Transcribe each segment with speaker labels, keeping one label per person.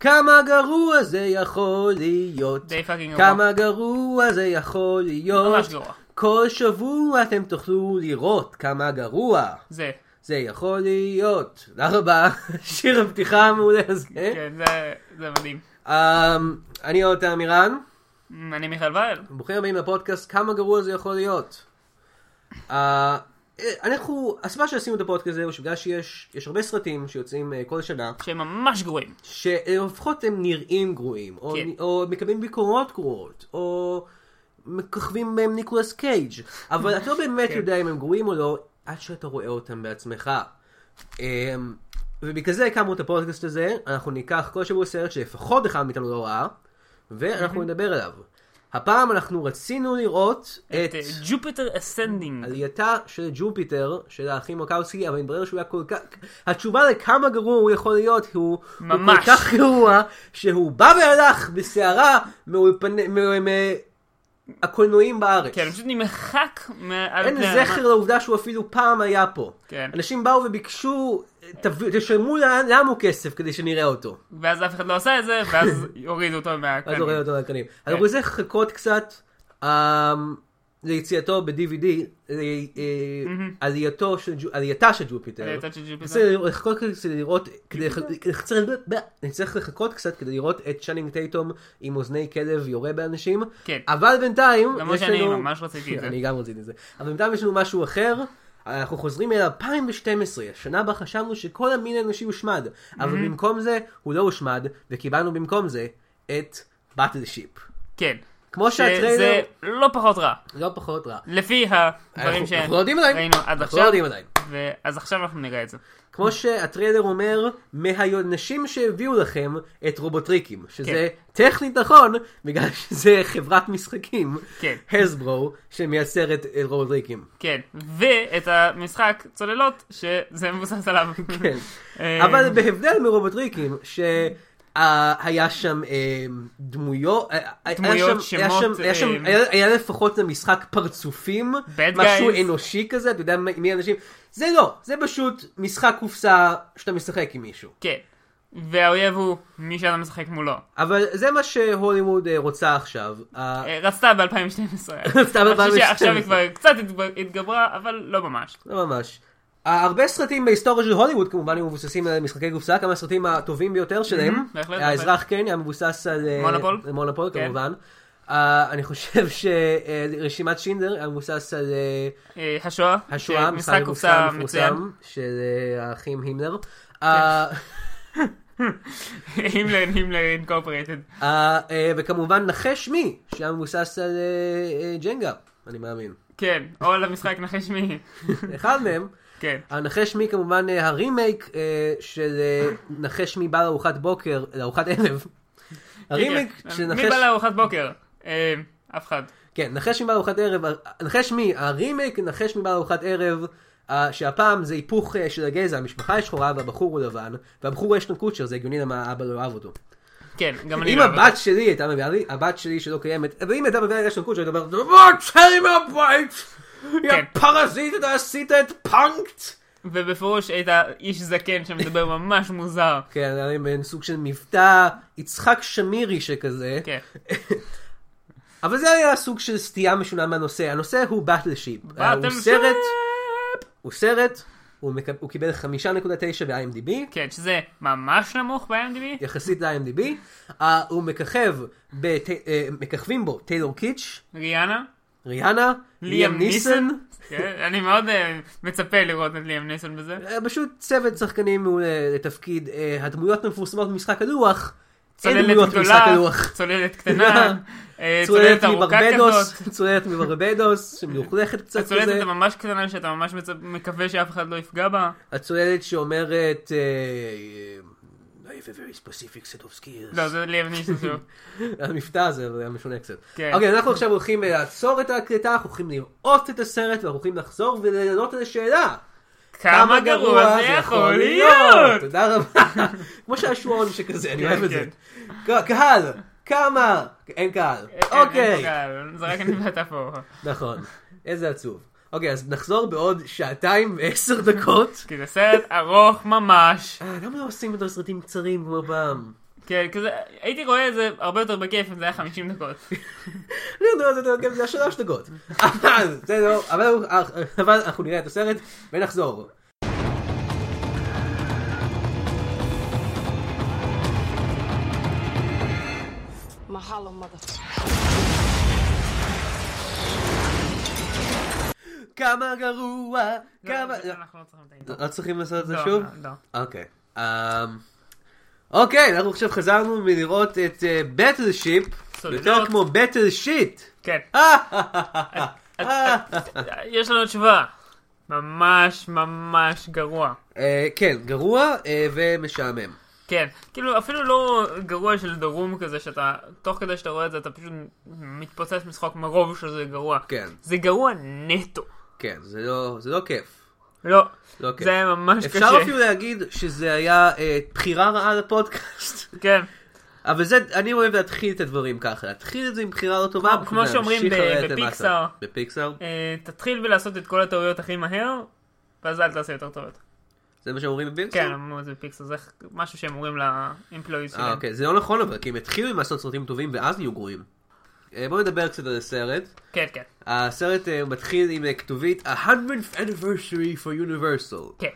Speaker 1: כמה גרוע זה יכול להיות.
Speaker 2: די פאקינג גרוע.
Speaker 1: כמה גרוע זה יכול להיות.
Speaker 2: ממש לא. גרוע.
Speaker 1: כל שבוע אתם תוכלו לראות כמה גרוע
Speaker 2: זה.
Speaker 1: זה יכול להיות. תודה רבה. שיר הפתיחה המעולה הזה.
Speaker 2: כן, זה- זה מדהים.
Speaker 1: אמ, אני עוד מירן.
Speaker 2: אמ, אני מיכאל וייל.
Speaker 1: ברוכים הבאים לפודקאסט כמה גרוע זה יכול להיות. אה, אנחנו, הסיבה שעשינו את הפודקאסט הזה הוא שבגלל שיש יש הרבה סרטים שיוצאים אה, כל שנה,
Speaker 2: שהם ממש גרועים.
Speaker 1: שלפחות הם נראים גרועים, או,
Speaker 2: כן.
Speaker 1: או מקבלים ביקורות גרועות, או מככבים בהם ניקולס קייג', אבל אתה לא באמת
Speaker 2: כן.
Speaker 1: יודע אם הם גרועים או לא, עד שאתה רואה אותם בעצמך. אמ, ובגלל זה הקמנו את הפודקאסט הזה, אנחנו ניקח כל שבוע סרט שלפחות אחד מאיתנו לא ראה, ואנחנו נדבר עליו. הפעם אנחנו רצינו לראות את
Speaker 2: את אה, ג'ופיטר אסנדינג.
Speaker 1: עלייתה של ג'ופיטר, של האחים מוקאוסקי, אבל מתברר שהוא היה כל כך... התשובה לכמה גרוע הוא יכול להיות, הוא, הוא
Speaker 2: ממש.
Speaker 1: כל כך גרוע, שהוא בא והלך בסערה מאולפני... מ- מ- הקולנועים בארץ.
Speaker 2: כן, הוא פשוט נמחק מה... על
Speaker 1: אין
Speaker 2: פני
Speaker 1: זכר
Speaker 2: האדמה.
Speaker 1: לעובדה שהוא אפילו פעם היה פה.
Speaker 2: כן.
Speaker 1: אנשים באו וביקשו, "תביאו- תשלמו לה- לנו כסף כדי שנראה אותו.
Speaker 2: ואז אף אחד לא עשה את זה, ואז הורידו אותו
Speaker 1: ואז
Speaker 2: מהקרנים.
Speaker 1: הוריד אותו לקנים.
Speaker 2: כן.
Speaker 1: אז הוא צריך לחכות קצת אמ, ליציאתו ב-DVD, ל- אה, עלייתו של ג'ו- עלייתה של ג'ופיטר.
Speaker 2: עלייתה של ג'ופיטר.
Speaker 1: צריך לחכות קצת כדי לראות, כדי לח- לחצר- אני צריך לחכות קצת כדי לראות את צ'נינג טייטום עם אוזני כלב יורה באנשים,
Speaker 2: כן.
Speaker 1: אבל בינתיים,
Speaker 2: למרות
Speaker 1: יש
Speaker 2: שאני
Speaker 1: לנו-
Speaker 2: ממש רציתי את זה.
Speaker 1: אני גם רציתי את זה, אבל בינתיים יש לנו משהו אחר. אנחנו חוזרים אל 2012, שנה בה חשבנו שכל המין האנושי הושמד, אבל במקום זה הוא לא הושמד, וקיבלנו במקום זה את באטלשיפ.
Speaker 2: כן.
Speaker 1: כמו
Speaker 2: שזה
Speaker 1: שהטריילר,
Speaker 2: לא פחות רע.
Speaker 1: לא פחות רע.
Speaker 2: לפי
Speaker 1: אנחנו
Speaker 2: הדברים
Speaker 1: אנחנו לא יודעים עדיין,
Speaker 2: שראינו עד
Speaker 1: אנחנו לא
Speaker 2: עכשיו.
Speaker 1: יודעים עדיין.
Speaker 2: ואז עכשיו אנחנו נראה את זה.
Speaker 1: כמו שהטריילר אומר, מהנשים שהביאו לכם את רובוטריקים, שזה טכנית נכון, בגלל שזה חברת משחקים,
Speaker 2: כן.
Speaker 1: הסברו, שמייצרת את רובוטריקים.
Speaker 2: כן. ואת המשחק צוללות, שזה מבוסס עליו.
Speaker 1: כן.
Speaker 2: אה,
Speaker 1: אבל בהבדל מרובוטריקים, שהיה שם אה, דמויות, אה, היה
Speaker 2: דמויות,
Speaker 1: שם- היה
Speaker 2: שמות,
Speaker 1: שם- היה שם-
Speaker 2: אה,
Speaker 1: היה- היה לפחות למשחק פרצופים,
Speaker 2: Bad
Speaker 1: משהו
Speaker 2: guys.
Speaker 1: אנושי כזה, אתה יודע מי- מי האנשים, זה לא, זה פשוט משחק קופסה שאתה משחק עם מישהו.
Speaker 2: כן. והאויב הוא מי שאתה משחק מולו.
Speaker 1: אבל זה מה שהוליווד אה, רוצה עכשיו. אה,
Speaker 2: אה, רצתה ב-2012.
Speaker 1: רצתה
Speaker 2: אני חושב
Speaker 1: ב-
Speaker 2: שעכשיו היא כבר קצת התב- התגברה, אבל לא ממש.
Speaker 1: לא ממש. אה, הרבה סרטים בהיסטוריה של הוליווד כמובן היו מבוססים על משחקי קופסה, כמה הסרטים הטובים ביותר שלהם.
Speaker 2: Mhm, בהחלט,
Speaker 1: האזרח כן היה מבוסס על... אה,
Speaker 2: מונופול.
Speaker 1: על מונופול
Speaker 2: כן.
Speaker 1: כמובן. אה, אני חושב שרשימת שינדר היה מבוסס על אה,
Speaker 2: אה, השואה.
Speaker 1: השואה,
Speaker 2: משחק קופסה מצוין. כן.
Speaker 1: של אה, האחים הימלר. אה,
Speaker 2: הימלר, הימלר אינקורפרטד.
Speaker 1: אה, אה, וכמובן נחש מי, שהיה מבוסס על אה, אה, ג'נגה, אני מאמין.
Speaker 2: כן, או למשחק נחש מי.
Speaker 1: אחד מהם.
Speaker 2: כן.
Speaker 1: הנחש מי כמובן אה, הרימייק אה, של אה, נחש מי בא לארוחת בוקר, לארוחת ערב. הרימייק
Speaker 2: כן,
Speaker 1: של
Speaker 2: מי
Speaker 1: נחש...
Speaker 2: בא לארוחת בוקר? אה, אף אחד.
Speaker 1: כן, נחש מי בא לארוחת ערב, אה, נחש מי, הרימייק נחש מי בא לארוחת ערב, אה, שהפעם זה היפוך אה, של הגזע, המשפחה היא שחורה והבחור הוא לבן, והבחור הוא אשטון קוצ'ר, זה הגיוני למה האבא לא אהב אותו.
Speaker 2: כן, גם אני
Speaker 1: אם
Speaker 2: לא אוהב
Speaker 1: הבת שלי הייתה מביאה לי, הבת שלי שלא קיימת, אבל אם הייתה מביאה לי אשטון קוצ'ר, הייתה אומרת, בוא תצא לי מהבית, יא
Speaker 2: כן.
Speaker 1: פרזיט, אתה עשית את פאנקט.
Speaker 2: אותו. ובפירוש הייתה איש זקן שמדבר ממש מוזר.
Speaker 1: כן, היה להם מעין סוג של מבטא יצחק שמירי שכזה.
Speaker 2: כן.
Speaker 1: אבל זה היה סוג של סטייה משונה מהנושא. הנושא הוא באטלשיפ.
Speaker 2: ואתם
Speaker 1: הוא סרט, הוא סרט, הוא, מקב... הוא קיבל 5.9 ב-IMDb,
Speaker 2: כן, שזה ממש נמוך ב-IMDb.
Speaker 1: יחסית ל-IMDb. Uh, הוא מככב, בת... uh, מככבים בו טיילור קיץ',
Speaker 2: ריאנה.
Speaker 1: ריאנה, ליאם ניסן.
Speaker 2: כן, אני מאוד אה, מצפה לראות את ליאם ניסן בזה.
Speaker 1: אה, פשוט צוות שחקנים מעולה לתפקיד. אה, הדמויות מפורסמות במשחק הלוח. אין
Speaker 2: צוללת
Speaker 1: דמויות במשחק
Speaker 2: גדולה,
Speaker 1: הלוח.
Speaker 2: צוללת קטנה, אה,
Speaker 1: צוללת
Speaker 2: צוללת ארוכה כזאת.
Speaker 1: מברבדוס, צוללת מברבדוס, שמלוכלכת קצת כזה,
Speaker 2: הצוללת הממש קטנה שאתה ממש מצ- מקווה שאף אחד לא יפגע בה.
Speaker 1: הצוללת שאומרת... אה, I have a very specific set of skills.
Speaker 2: לא, זה ליאם ניסן שלו.
Speaker 1: המבטא הזה אבל היה משונה קצת.
Speaker 2: כן.
Speaker 1: אוקיי, אנחנו עכשיו הולכים אה, לעצור את ההקלטה, אנחנו הולכים לראות את הסרט, ואנחנו הולכים לחזור ולענות על השאלה.
Speaker 2: כמה גרוע זה יכול להיות!
Speaker 1: תודה רבה. כמו שהשעון שכזה, אני
Speaker 2: כן,
Speaker 1: אוהב את זה.
Speaker 2: כן.
Speaker 1: ק- קהל, כמה? אין קהל. אוקיי.
Speaker 2: אה, אין, לא, זה רק אני ואתה פה.
Speaker 1: נכון, איזה עצוב. אוקיי, אז נחזור בעוד שעתיים ועשר דקות.
Speaker 2: כי זה סרט ארוך ממש.
Speaker 1: אה, למה לא עושים את הסרטים קצרים כמו פעם?
Speaker 2: כן, כזה, הייתי רואה את זה הרבה יותר בכיף אם זה היה 50 דקות.
Speaker 1: אני יודע, זה- לא, זה- זה שלוש דקות. אבל, זה לא- אבל- אבל אנחנו נראה את הסרט ונחזור.
Speaker 3: Mahalo, motherfucker.
Speaker 1: כמה גרוע, כמה...
Speaker 2: לא, אנחנו לא צריכים את האינטרנט.
Speaker 1: לא צריכים לעשות את זה
Speaker 2: לא,
Speaker 1: שוב?
Speaker 2: לא.
Speaker 1: אוקיי. אמ, אוקיי, אנחנו עכשיו חזרנו מלראות את בטל שיפ,
Speaker 2: צוללות.
Speaker 1: יותר לא כמו בטל שיט.
Speaker 2: כן. את-
Speaker 1: אה,
Speaker 2: את- יש לנו תשובה. ממש ממש גרוע.
Speaker 1: כן, גרוע אה, ומשעמם.
Speaker 2: כן, כאילו אפילו לא גרוע של דרום כזה שאתה, תוך כדי שאתה רואה את זה אתה פשוט מתפוצץ משחוק מרוב שזה גרוע.
Speaker 1: כן.
Speaker 2: זה גרוע נטו.
Speaker 1: כן, זה לא- זה לא כיף.
Speaker 2: לא,
Speaker 1: לא כיף.
Speaker 2: זה היה ממש קשה.
Speaker 1: אפשר אפילו להגיד שזה היה אה, בחירה רעה לפודקאסט.
Speaker 2: כן,
Speaker 1: אבל זה, אני אוהב להתחיל את הדברים ככה, להתחיל את זה עם בחירה לא טובה,
Speaker 2: כמו- כמו
Speaker 1: פשוט
Speaker 2: שאומרים
Speaker 1: להמשיך
Speaker 2: ב-
Speaker 1: לרדת למטה.
Speaker 2: בפיקסאר.
Speaker 1: בפיקסאר,
Speaker 2: אה, תתחיל בלעשות את כל הטעויות הכי מהר, ואז אל תעשה יותר טובות.
Speaker 1: זה מה שאומרים בפיקסאר?
Speaker 2: כן, אמרו את זה בפיקסר, זה משהו שהם אומרים לאמפלואיז
Speaker 1: אה,
Speaker 2: שלהם.
Speaker 1: אוקיי, זה לא נכון אבל, כי הם התחילו עם לעשות סרטים טובים ואז נהיו גרועים. אה, בואו נדבר קצת על הסרט.
Speaker 2: כן, כן,
Speaker 1: הסרט אה, מתחיל עם אה, כתובית 100th anniversary for Universal.
Speaker 2: כן.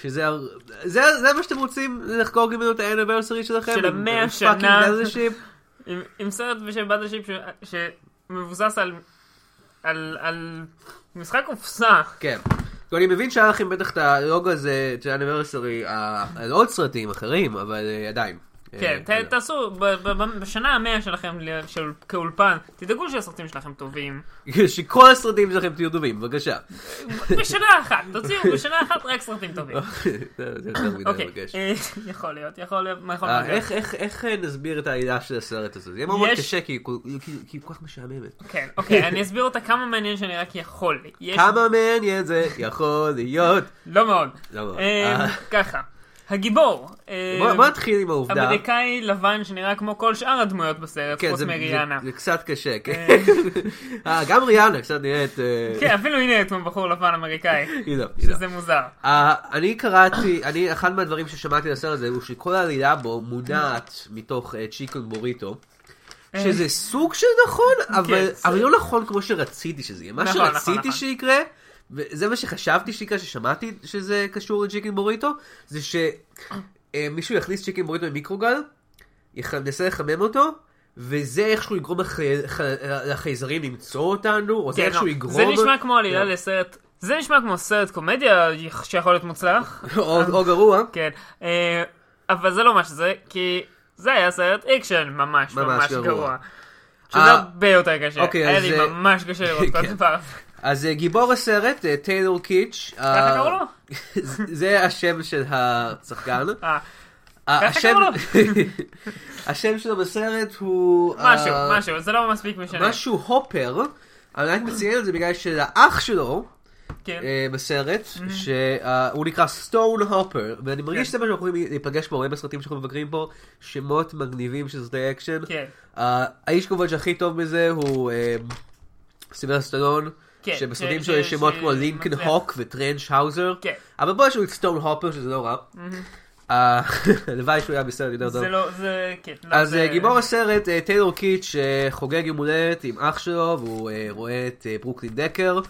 Speaker 1: שזה הר- זה זה מה שאתם רוצים לחגוג ממנו את ה-anniversary שלכם?
Speaker 2: של
Speaker 1: עם- עם
Speaker 2: המאה
Speaker 1: fucking
Speaker 2: שנה.
Speaker 1: battleship?
Speaker 2: עם- עם סרט בשם בטלשיפ ש- שמבוסס על... על, על משחק קופסה,
Speaker 1: כן. טוב, אני מבין שהיה לכם בטח את הלוג הזה של האניברסרי אה, על עוד סרטים אחרים, אבל אה, עדיין.
Speaker 2: כן,
Speaker 1: אה,
Speaker 2: ת- תעשו, ב- ב- ב- בשנה המאה שלכם ל- של- כאולפן, תדאגו שהסרטים שלכם טובים.
Speaker 1: אה, שכל הסרטים שלכם תהיו דומים, בבקשה.
Speaker 2: בשנה אחת, תוציאו בשנה אחת רק סרטים טובים.
Speaker 1: זה זה יותר מדי
Speaker 2: אוקיי,
Speaker 1: מבקש.
Speaker 2: אה, יכול להיות, יכול להיות, מה יכול
Speaker 1: אה,
Speaker 2: להיות?
Speaker 1: איך- איך- איך אה, נסביר את העלילה של הסרט הזה? זה יהיה מאוד מאוד
Speaker 2: יש-
Speaker 1: קשה, כי היא כל- כי- כי היא כל כך משעממת.
Speaker 2: כן, אוקיי, אני אסביר אותה כמה מעניין שאני רק יכול. יש-
Speaker 1: כמה מעניין זה יכול להיות?
Speaker 2: לא מאוד.
Speaker 1: לא, לא.
Speaker 2: אה,
Speaker 1: אה,
Speaker 2: ככה, הגיבור. אה,
Speaker 1: בוא בוא נתחיל עם העובדה.
Speaker 2: אמריקאי לבן שנראה כמו כל שאר הדמויות בסרט,
Speaker 1: כן,
Speaker 2: חוץ
Speaker 1: זה-
Speaker 2: מריאנה.
Speaker 1: זה- זה קצת קשה, כן.
Speaker 2: אה.
Speaker 1: אה, גם ריאנה קצת נראית... אה,
Speaker 2: כן, אפילו היא נראית כמו בחור לבן אמריקאי,
Speaker 1: היא לא, היא לא.
Speaker 2: שזה מוזר.
Speaker 1: אה, אני קראתי, אני, אחד מהדברים ששמעתי על הסרט הזה הוא שכל העלילה בו מונעת מתוך אה, צ'יקון בוריטו. שזה סוג של נכון, אבל,
Speaker 2: אה. כן, זה-
Speaker 1: אבל לא נכון כמו שרציתי שזה יהיה. מה
Speaker 2: נכון, נכון,
Speaker 1: שרציתי
Speaker 2: נכון.
Speaker 1: שיקרה, וזה מה שחשבתי שיקרה, ששמעתי שזה קשור לצ'יקן בוריטו, זה שמישהו יכניס צ'יקן בוריטו במיקרוגל, יח- ינסה לחמם אותו, וזה איכשהו יגרום לח- ח- לחייזרים למצוא אותנו, או זה
Speaker 2: כן,
Speaker 1: איכשהו
Speaker 2: לא.
Speaker 1: יגרום...
Speaker 2: זה נשמע כמו עלילה
Speaker 1: לא.
Speaker 2: לסרט, זה נשמע כמו סרט קומדיה שיכול להיות מוצלח.
Speaker 1: או, או גרוע.
Speaker 2: כן, אה, אבל זה לא מה שזה, כי זה היה סרט אקשן ממש
Speaker 1: ממש
Speaker 2: ממש
Speaker 1: גרוע.
Speaker 2: גרוע. שזה
Speaker 1: אה,
Speaker 2: הרבה יותר קשה,
Speaker 1: אוקיי,
Speaker 2: היה
Speaker 1: אז
Speaker 2: לי
Speaker 1: זה-
Speaker 2: ממש קשה לראות כל
Speaker 1: כן.
Speaker 2: הדבר.
Speaker 1: אז אה, גיבור הסרט, אה, טיילור קיץ'.
Speaker 2: ככה
Speaker 1: אה,
Speaker 2: קראו לו?
Speaker 1: זה השם של השחקן.
Speaker 2: אה,
Speaker 1: אה,
Speaker 2: ככה
Speaker 1: השם-
Speaker 2: קראו
Speaker 1: השם שלו בסרט הוא... אה,
Speaker 2: משהו, משהו, זה לא מספיק משנה.
Speaker 1: משהו הופר. אני רק מציין את זה בגלל שלאח שלו
Speaker 2: כן. Mm-hmm.
Speaker 1: אה, בסרט, שהוא נקרא סטון הופר, ואני מרגיש
Speaker 2: כן.
Speaker 1: שזה מה שאנחנו יכולים להיפגש פה הרבה בסרטים שאנחנו מבקרים פה, שמות מגניבים של סרטי אקשן.
Speaker 2: כן.
Speaker 1: אה, האיש כמובן שהכי טוב בזה הוא אה, סילבר סטלון,
Speaker 2: כן,
Speaker 1: שבסרטים
Speaker 2: ש-
Speaker 1: שלו יש
Speaker 2: ש-
Speaker 1: שמות
Speaker 2: ש-
Speaker 1: כמו לינקן
Speaker 2: מצליח.
Speaker 1: הוק וטרנץ' האוזר,
Speaker 2: כן. Mm-hmm.
Speaker 1: אבל פה יש לנו את סטון הופר שזה לא רע. אה, הלוואי שהוא היה בסרט יותר טוב.
Speaker 2: זה לא, זה, כן. לא,
Speaker 1: אז
Speaker 2: זה-
Speaker 1: אה, גיבור הסרט, אה, טיילור קיץ', שחוגג יום הולדת עם אח שלו, והוא אה, רואה את אה, ברוקלין דקר,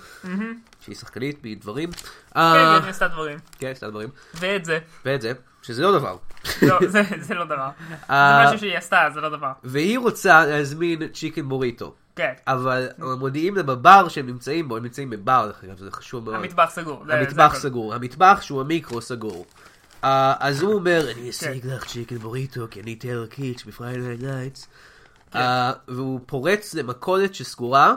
Speaker 1: שהיא שחקנית מדברים.
Speaker 2: כן,
Speaker 1: אה,
Speaker 2: כן, היא עשתה דברים.
Speaker 1: כן, סתם דברים.
Speaker 2: ואת זה.
Speaker 1: ואת זה, שזה לא דבר.
Speaker 2: לא, זה- זה לא דבר. זה
Speaker 1: אה,
Speaker 2: משהו שהיא עשתה, זה לא דבר.
Speaker 1: והיא רוצה להזמין צ'יקן מוריטו.
Speaker 2: כן.
Speaker 1: אבל מודיעים לה בבר שהם נמצאים בו, הם נמצאים בבר, דרך אגב, זה חשוב מאוד.
Speaker 2: המטבח סגור. זה- זה
Speaker 1: לא. המטבח
Speaker 2: הכל.
Speaker 1: סגור, המטבח שהוא המיקרו סגור. אה, אז הוא אומר,
Speaker 2: כן.
Speaker 1: אני אשיג לך צ'יקן בוריטו, כי אני טיילר קיץ' בפריידי נייטס.
Speaker 2: כן.
Speaker 1: והוא פורץ למכולת שסגורה,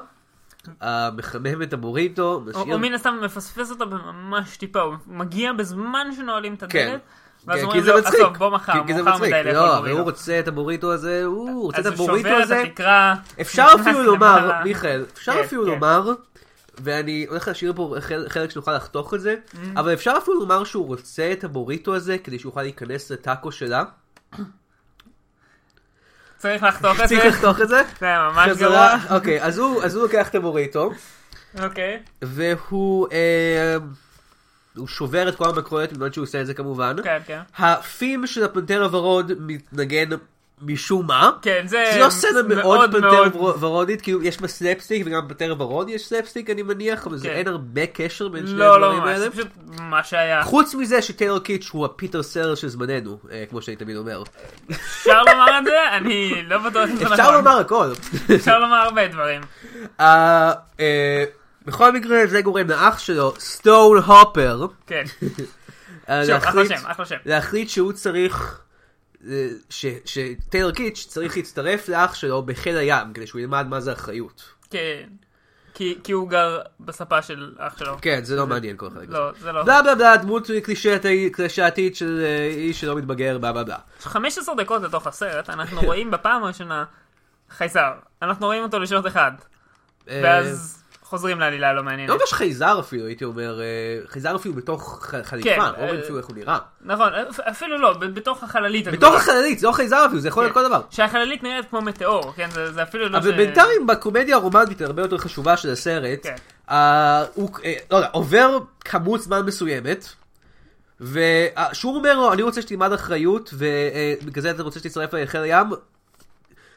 Speaker 1: אה, מחמם את הבוריטו,
Speaker 2: כן. הוא
Speaker 1: משאיר...
Speaker 2: הוא מן הסתם מפספס אותה בממש טיפה, הוא מגיע בזמן שנועלים את
Speaker 1: כן.
Speaker 2: הדלת,
Speaker 1: כן,
Speaker 2: ואז
Speaker 1: כי
Speaker 2: אומרים
Speaker 1: זה
Speaker 2: לו,
Speaker 1: מצחיק,
Speaker 2: עזוב, בוא מחר,
Speaker 1: כי- כי זה
Speaker 2: מאוחר
Speaker 1: מצחיק.
Speaker 2: מדי
Speaker 1: לא,
Speaker 2: לאכול
Speaker 1: אבל הוא
Speaker 2: בורידו.
Speaker 1: רוצה את הבוריטו הזה, הוא רוצה את
Speaker 2: אז הוא
Speaker 1: הבוריטו
Speaker 2: שובר את
Speaker 1: הזה.
Speaker 2: התקרה.
Speaker 1: אפשר
Speaker 2: נכנס
Speaker 1: אפילו
Speaker 2: למעלה.
Speaker 1: לומר, מיכאל, אפשר
Speaker 2: כן,
Speaker 1: אפילו
Speaker 2: כן.
Speaker 1: לומר, ואני הולך להשאיר פה חל- חלק שנוכל לחתוך את זה,
Speaker 2: Mm.
Speaker 1: אבל אפשר אפילו לומר שהוא רוצה את הבוריטו הזה כדי שיוכל להיכנס לטאקו שלה.
Speaker 2: צריך לחתוך את זה,
Speaker 1: צריך לחתוך את זה.
Speaker 2: זה היה ממש
Speaker 1: חזרה,
Speaker 2: גרוע.
Speaker 1: אוקיי, אז הוא אז הוא לוקח את הבוריטו,
Speaker 2: אוקיי,
Speaker 1: והוא אה, הוא שובר את כל המקרויות, בזמן שהוא עושה את זה כמובן.
Speaker 2: כן, כן.
Speaker 1: הפים של הפנתר הוורוד מתנגן משום מה.
Speaker 2: כן, זה
Speaker 1: זה לא סצנה מאוד
Speaker 2: מאוד
Speaker 1: פנתר
Speaker 2: מאוד-
Speaker 1: ור- ורודית, כאילו יש בה סלפסטיק וגם בפנתר ורוד יש סלפסטיק אני מניח, אבל זה
Speaker 2: כן.
Speaker 1: אין הרבה קשר בין שני
Speaker 2: לא, לא
Speaker 1: הדברים
Speaker 2: ממש,
Speaker 1: האלה.
Speaker 2: זה פשוט מה שהיה.
Speaker 1: חוץ מזה שטיילר קיץ' הוא הפיטר סלר של זמננו, אה, כמו שאני תמיד אומר.
Speaker 2: אפשר לומר את זה? אני לא בטוח אם זה נכון.
Speaker 1: אפשר לומר הכל.
Speaker 2: אפשר לומר הרבה דברים.
Speaker 1: אה, אה, בכל מקרה זה גורם לאח שלו, סטול הופר,
Speaker 2: כן.
Speaker 1: אה,
Speaker 2: שוב, אחלה
Speaker 1: להחליט-
Speaker 2: שם, אחלה שם.
Speaker 1: להחליט שהוא צריך, אה, ש- שטיילר קיץ' צריך להצטרף לאח שלו בחיל הים, כדי שהוא ילמד מה זה אחריות.
Speaker 2: כן. כי- כי הוא גר בספה של אח שלו.
Speaker 1: כן, זה לא מעניין כל חלק.
Speaker 2: לא, זה לא.
Speaker 1: בלה בלה בלה, דמות קלישאתי- קלישאתית של אה, איש שלא מתבגר, בלה בלה בלה.
Speaker 2: 15 דקות לתוך הסרט, אנחנו רואים בפעם הראשונה חייזר. אנחנו רואים אותו לשעות אחד,
Speaker 1: אה,
Speaker 2: ואז חוזרים לעלילה לא מעניינת.
Speaker 1: לא ממש חייזר אפילו, הייתי אומר, אה, חייזר אפילו בתוך ח-
Speaker 2: כן,
Speaker 1: חליפה, לא רואים
Speaker 2: אה,
Speaker 1: אפילו איך הוא נראה.
Speaker 2: נכון, אפ- אפילו לא, ב- בתוך החללית. הגדולה.
Speaker 1: בתוך החללית, זה לא חייזר אפילו, זה יכול להיות כל דבר.
Speaker 2: שהחללית נראית כמו מטאור, כן? זה זה אפילו כן. לא...
Speaker 1: אבל
Speaker 2: ש-
Speaker 1: בינתיים בקומדיה הרומנטית הרבה יותר חשובה של הסרט,
Speaker 2: כן.
Speaker 1: אה, הוא, אה, לא יודע, עובר כמות זמן מסוימת, ושהוא אומר לו, אני רוצה שתלמד אחריות, ובגלל זה אתה רוצה שתצטרף אליי לחיל הים.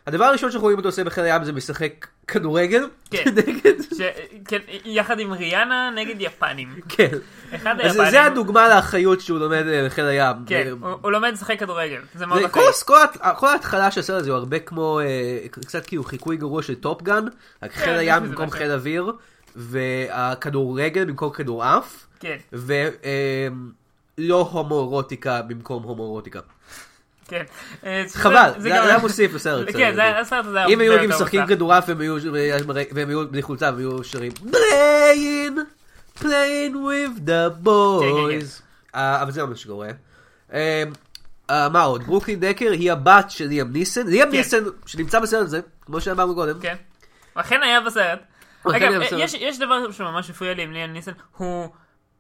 Speaker 1: הדבר הראשון שאנחנו רואים אותו עושה בחיל הים זה משחק כדורגל.
Speaker 2: כן.
Speaker 1: נגד-
Speaker 2: ש- כן, יחד עם ריאנה נגד יפנים.
Speaker 1: כן.
Speaker 2: אחד
Speaker 1: אז
Speaker 2: היפנים...
Speaker 1: זה הדוגמה לאחריות שהוא לומד אה, בחיל הים.
Speaker 2: כן,
Speaker 1: אה,
Speaker 2: הוא הוא לומד לשחק כדורגל. זה מאוד
Speaker 1: זה-
Speaker 2: אחראי.
Speaker 1: כל הס- כל הת- כל ההתחלה של הסרט הזה הוא הרבה כמו, אה, קצת כאילו חיקוי גרוע של טופגן, רק חיל
Speaker 2: כן, יש
Speaker 1: הים
Speaker 2: בזה
Speaker 1: במקום
Speaker 2: משהו.
Speaker 1: חיל אוויר, והכדורגל במקום כדורעף,
Speaker 2: כן,
Speaker 1: ולא הומואירוטיקה אה, לא במקום הומואירוטיקה.
Speaker 2: כן. אה, זה-
Speaker 1: חבל, זה
Speaker 2: גם-
Speaker 1: זה היה מוסיף לסרט.
Speaker 2: כן, זה היה-
Speaker 1: אה,
Speaker 2: הסרט הזה היה...
Speaker 1: אם היו
Speaker 2: הרבה
Speaker 1: נגיד
Speaker 2: יותר
Speaker 1: משחקים
Speaker 2: מוצלח.
Speaker 1: כדורעף והם היו- והם היו בלי חולצה והם היו שרים פליין, פליין with the
Speaker 2: כן, כן.
Speaker 1: boys. אה, אבל זה לא מה שקורה. אה, אה, מה עוד? ברוקלין דקר היא הבת של ליאם ניסן. ליאם
Speaker 2: כן.
Speaker 1: ניסן שנמצא בסרט הזה, כמו שאמרנו קודם.
Speaker 2: כן. הוא אכן היה בסרט.
Speaker 1: הוא אכן
Speaker 2: אגב,
Speaker 1: היה בסרט.
Speaker 2: יש, יש דבר שממש הפריע לי עם ליאם ניסן, הוא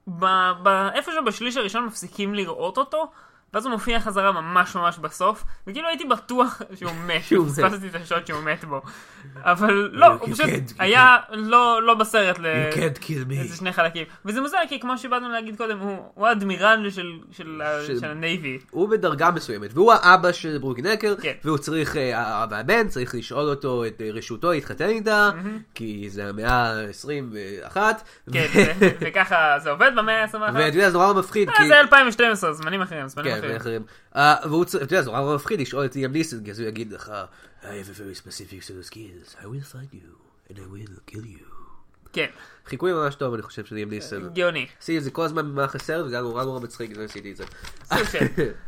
Speaker 2: ב, ב, איפשהו בשליש הראשון מפסיקים לראות אותו, ואז הוא מופיע חזרה ממש ממש בסוף, וכאילו הייתי בטוח שהוא מת,
Speaker 1: שהוא מת.
Speaker 2: פספסתי את השוט שהוא מת בו. אבל לא,
Speaker 1: You
Speaker 2: הוא פשוט
Speaker 1: can't-
Speaker 2: היה לא, לא בסרט ל...
Speaker 1: You can't kill
Speaker 2: איזה
Speaker 1: me.
Speaker 2: שני חלקים. וזה מוזר, כי כמו שבאנו להגיד קודם, הוא, הוא האדמירל של, של, ה-
Speaker 1: של-
Speaker 2: של הנייבי.
Speaker 1: הוא בדרגה מסוימת, והוא האבא של ברוקלין דקר,
Speaker 2: כן.
Speaker 1: והוא צריך, אה, האבא והבן, צריך לשאול אותו את אה, רשותו להתחתן איתה, כי זה המאה ה-21.
Speaker 2: כן, זה- וככה זה עובד במאה ה-21. אה,
Speaker 1: ואתה יודע, זה נורא מפחיד, כי...
Speaker 2: זה 2012, זמנים אחרים, זמנים
Speaker 1: כן,
Speaker 2: אחרים.
Speaker 1: ואחרים. Uh, והוא צריך, אתה יודע, זה נורא מפחיד לשאול את ליאם ניסן, כי אז הוא יגיד לך, I have a very specific set of skills, I will find you, and I will kill you.
Speaker 2: כן,
Speaker 1: חיקוי ממש טוב, אני חושב, של ליאם ניסן.
Speaker 2: גאוני.
Speaker 1: עשיתי את זה כל הזמן במהלך הסרט, וזה היה נורא נורא מצחיק, אז עשיתי את זה.
Speaker 2: סוג של.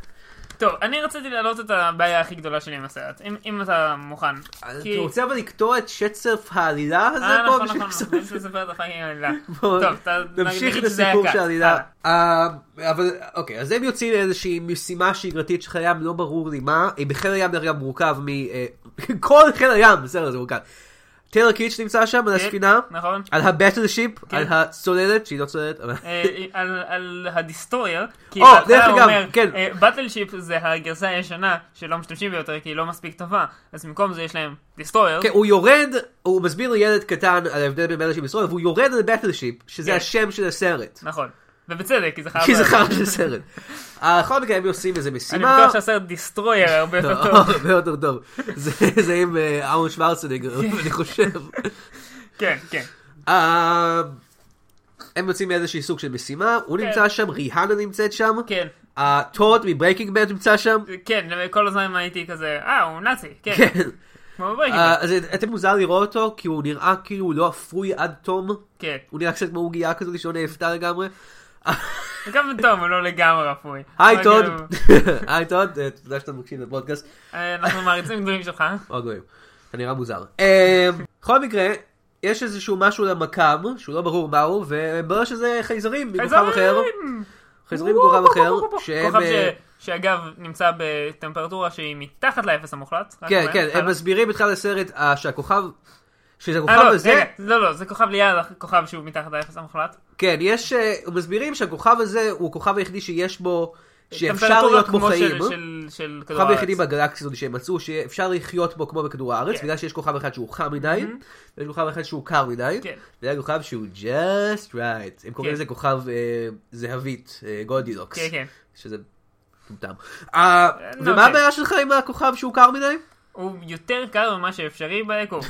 Speaker 2: טוב, אני רציתי להעלות את הבעיה הכי גדולה שלי עם הסרט, אם- אם אתה מוכן. כי-
Speaker 1: אתה רוצה אבל לקטוע את שצף העלילה הזה
Speaker 2: אה,
Speaker 1: פה?
Speaker 2: נכון,
Speaker 1: בשביל
Speaker 2: נכון,
Speaker 1: לסוף?
Speaker 2: נכון, יש לספר את החיים העלילה.
Speaker 1: בוא,
Speaker 2: טוב, אתה-
Speaker 1: נמשיך
Speaker 2: נגיד שזה היה
Speaker 1: לסיפור
Speaker 2: קאט.
Speaker 1: של העלילה.
Speaker 2: הלאה.
Speaker 1: אה, אבל אוקיי, אז הם יוצאים לאיזושהי משימה שגרתית של חיל הים, לא ברור לי מה. אה, בחיל הים דרך אגב מורכב מ... אה, כל חיל הים, בסדר, זה מורכב. טיילר קיץ' נמצא שם על
Speaker 2: כן,
Speaker 1: הספינה,
Speaker 2: נכון.
Speaker 1: על הבטל שיפ,
Speaker 2: כן.
Speaker 1: על הצוללת, שהיא לא צוללת, אבל...
Speaker 2: אה, על- על הדסטרויר, כי
Speaker 1: או, דרך
Speaker 2: בהתחלה הוא
Speaker 1: אגב,
Speaker 2: אומר,
Speaker 1: כן.
Speaker 2: בטלשיפ זה הגרסה הישנה שלא משתמשים בה יותר כי היא לא מספיק טובה, אז במקום זה יש להם דסטרויר,
Speaker 1: כן, הוא יורד, הוא מסביר לילד קטן על ההבדל בין בטל שיפ לסרט, והוא יורד על בטל שיפ, שזה
Speaker 2: כן.
Speaker 1: השם של הסרט.
Speaker 2: נכון, ובצדק, כי זה חרא.
Speaker 1: כי זה חרא של סרט. אה, בכל מקרה הם עושים איזה
Speaker 2: אני
Speaker 1: משימה.
Speaker 2: בטוח שהסרט דסטרויר הרבה
Speaker 1: לא.
Speaker 2: יותר טוב.
Speaker 1: הרבה יותר טוב. זה- זה עם אה, אהרון שוורצנגר, אני חושב.
Speaker 2: כן, כן.
Speaker 1: אה, הם יוצאים מאיזשהי סוג של משימה, הוא
Speaker 2: כן.
Speaker 1: נמצא שם, ריהנה נמצאת שם, אה,
Speaker 2: כן,
Speaker 1: הטוד מברייקינג בד נמצא שם.
Speaker 2: כן, כל הזמן הייתי כזה, אה, הוא נאצי, כן,
Speaker 1: כן.
Speaker 2: כמו בברקינג.
Speaker 1: אה, אז אתם מוזר לראות אותו, כי הוא נראה כאילו הוא לא אפוי עד תום.
Speaker 2: כן.
Speaker 1: הוא נראה קצת כמו עוגייה כזאת שלא נאפתה לגמרי.
Speaker 2: גם תום הוא לא לגמרי אפוי.
Speaker 1: היי
Speaker 2: אבל
Speaker 1: טוד,
Speaker 2: כאילו,
Speaker 1: היי טוד, אה, תודה שאתה מקשיב לפודקאסט.
Speaker 2: אה, אנחנו מעריצים גדולים שלך.
Speaker 1: מאוד גדולים. אתה נראה מוזר. אה, בכל מקרה, יש איזשהו משהו למכ"ם, שהוא לא ברור מהו, ומתברר שזה חייזרים מכוכב אחר. חייזרים מכוכב אחר, שהם...
Speaker 2: כוכב ש-
Speaker 1: אה,
Speaker 2: שאגב נמצא בטמפרטורה שהיא מתחת לאפס המוחלט. רק
Speaker 1: כן,
Speaker 2: אומר.
Speaker 1: כן, הם
Speaker 2: הלאה.
Speaker 1: מסבירים בתחילת הסרט אה, שהכוכב... שזה
Speaker 2: אה,
Speaker 1: הכוכב
Speaker 2: לא,
Speaker 1: הזה,
Speaker 2: רגע, לא, לא, זה כוכב ליד הכוכב שהוא מתחת לאפס המוחלט.
Speaker 1: כן, יש, אה, מסבירים שהכוכב הזה הוא הכוכב היחידי שיש בו, שאפשר
Speaker 2: טמפרטורה
Speaker 1: להיות בו
Speaker 2: כמו של-
Speaker 1: חיים.
Speaker 2: של- של כדור
Speaker 1: הכוכב
Speaker 2: הארץ.
Speaker 1: היחידי בגלקסיה הזאת שהם מצאו שאפשר לחיות בו כמו בכדור הארץ,
Speaker 2: כן.
Speaker 1: בגלל שיש כוכב אחד שהוא חם מדי, ויש כוכב אחד שהוא קר מדי,
Speaker 2: כן.
Speaker 1: וזה כוכב שהוא just right. הם קוראים
Speaker 2: כן.
Speaker 1: לזה כוכב אה, זהבית, אה, גולדילוקס.
Speaker 2: כן, כן.
Speaker 1: שזה מטומטם. אה, ומה
Speaker 2: אוקיי.
Speaker 1: הבעיה שלך עם הכוכב שהוא קר מדי?
Speaker 2: הוא יותר קר ממה שאפשרי ביקום.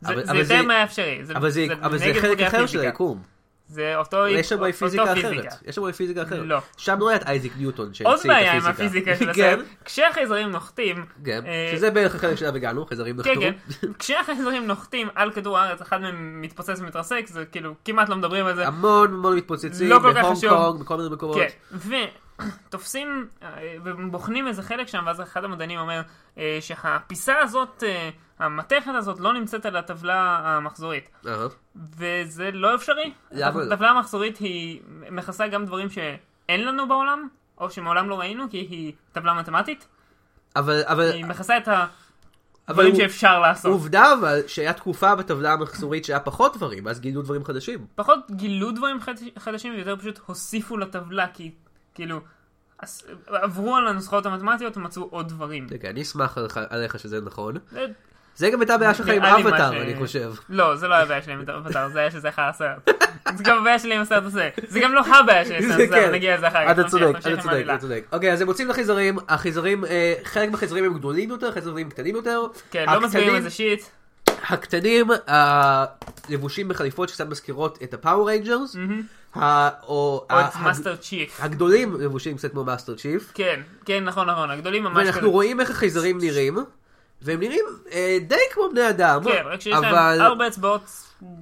Speaker 2: זה
Speaker 1: אבל-
Speaker 2: זה
Speaker 1: אבל
Speaker 2: יותר
Speaker 1: זה-
Speaker 2: מהאפשרי.
Speaker 1: אבל זה- אבל זה
Speaker 2: נגד
Speaker 1: חלק
Speaker 2: חוקי
Speaker 1: אחר של
Speaker 2: הפיזיקה.
Speaker 1: היקום.
Speaker 2: זה אותו
Speaker 1: יש שם
Speaker 2: לא, אותו
Speaker 1: הרי פיזיקה אחרת. כן,
Speaker 2: פיזיקה.
Speaker 1: יש שם הרי פיזיקה אחרת.
Speaker 2: לא.
Speaker 1: שם לא היה את אייזיק ניוטון שהמציא את
Speaker 2: עוד
Speaker 1: הפיזיקה.
Speaker 2: בעיה עם הפיזיקה של
Speaker 1: כן,
Speaker 2: הסרט, כשהחייזרים נוחתים,
Speaker 1: כן.
Speaker 2: אה,
Speaker 1: שזה בערך החלק שאליו הגענו, חייזרים
Speaker 2: כן
Speaker 1: נחתו.
Speaker 2: כן, כשהחייזרים נוחתים על כדור הארץ, אחד מהם מתפוצץ ומתרסק, זה כאילו כמעט לא מדברים על זה,
Speaker 1: המון המון מתפוצצים
Speaker 2: לא כל כך
Speaker 1: בהונג
Speaker 2: חשוב.
Speaker 1: קונג, בכל מיני מקומות.
Speaker 2: כן, ותופסים אה, ובוחנים איזה חלק שם, ואז אחד המדענים אומר אה, שהפיסה הזאת, אה, המתכת הזאת, לא נמצאת על הטבלה המחזורית.
Speaker 1: אהה.
Speaker 2: וזה לא אפשרי.
Speaker 1: למה לא?
Speaker 2: הטבלה המחזורית היא מכסה גם דברים שאין לנו בעולם, או שמעולם לא ראינו, כי היא טבלה מתמטית.
Speaker 1: אבל, אה, אבל,
Speaker 2: היא מכסה את הדברים
Speaker 1: אבל הוא-
Speaker 2: שאפשר לעשות.
Speaker 1: עובדה אבל שהיה תקופה בטבלה המחזורית שהיה פחות דברים, אז גילו דברים חדשים.
Speaker 2: פחות גילו דברים חד- חדשים ויותר פשוט הוסיפו לטבלה, כי כאילו... אז- אה, עברו על הנוסחאות המתמטיות ומצאו עוד דברים.
Speaker 1: כן, כן, אני אשמח עליך- עליך שזה נכון.
Speaker 2: זה-
Speaker 1: זה גם הייתה הבעיה שלך עם
Speaker 2: נראה לי מה
Speaker 1: אבטאר,
Speaker 2: ש-
Speaker 1: אני חושב.
Speaker 2: לא, זה לא היה הבעיה שלי עם אבטאר, זה היה שזה אחר הסרט. זה גם הבעיה שלי עם הסרט הזה. זה גם לא הבעיה שלי עם
Speaker 1: זה
Speaker 2: הסרט הזה,
Speaker 1: כן.
Speaker 2: אבל נגיע לזה אחר כך.
Speaker 1: אתה
Speaker 2: תמשיך,
Speaker 1: צודק,
Speaker 2: תמשיך
Speaker 1: אתה
Speaker 2: עם
Speaker 1: צודק,
Speaker 2: העלילה.
Speaker 1: אתה צודק. אוקיי, אז הם מוצאים לחייזרים, החייזרים, אה, חלק מהחייזרים הם גדולים יותר, חייזרים קטנים יותר.
Speaker 2: כן, לא מסבירים
Speaker 1: הקטנים-
Speaker 2: איזה שיט.
Speaker 1: הקטנים, הלבושים בחליפות שקצת מזכירות את הפאור ריינג'רס, או
Speaker 2: או את
Speaker 1: ה-
Speaker 2: מאסטר צ'יף.
Speaker 1: הגדולים לבושים קצת כמו מאסטר צ'יף,
Speaker 2: כן, כן, נכון, נכון, הגדולים ממש כזה.
Speaker 1: ואנחנו רואים איך החייזרים נראים, והם נראים אה, די כמו בני אדם,
Speaker 2: כן, רק שיש
Speaker 1: אבל
Speaker 2: להם ארבע אצבעות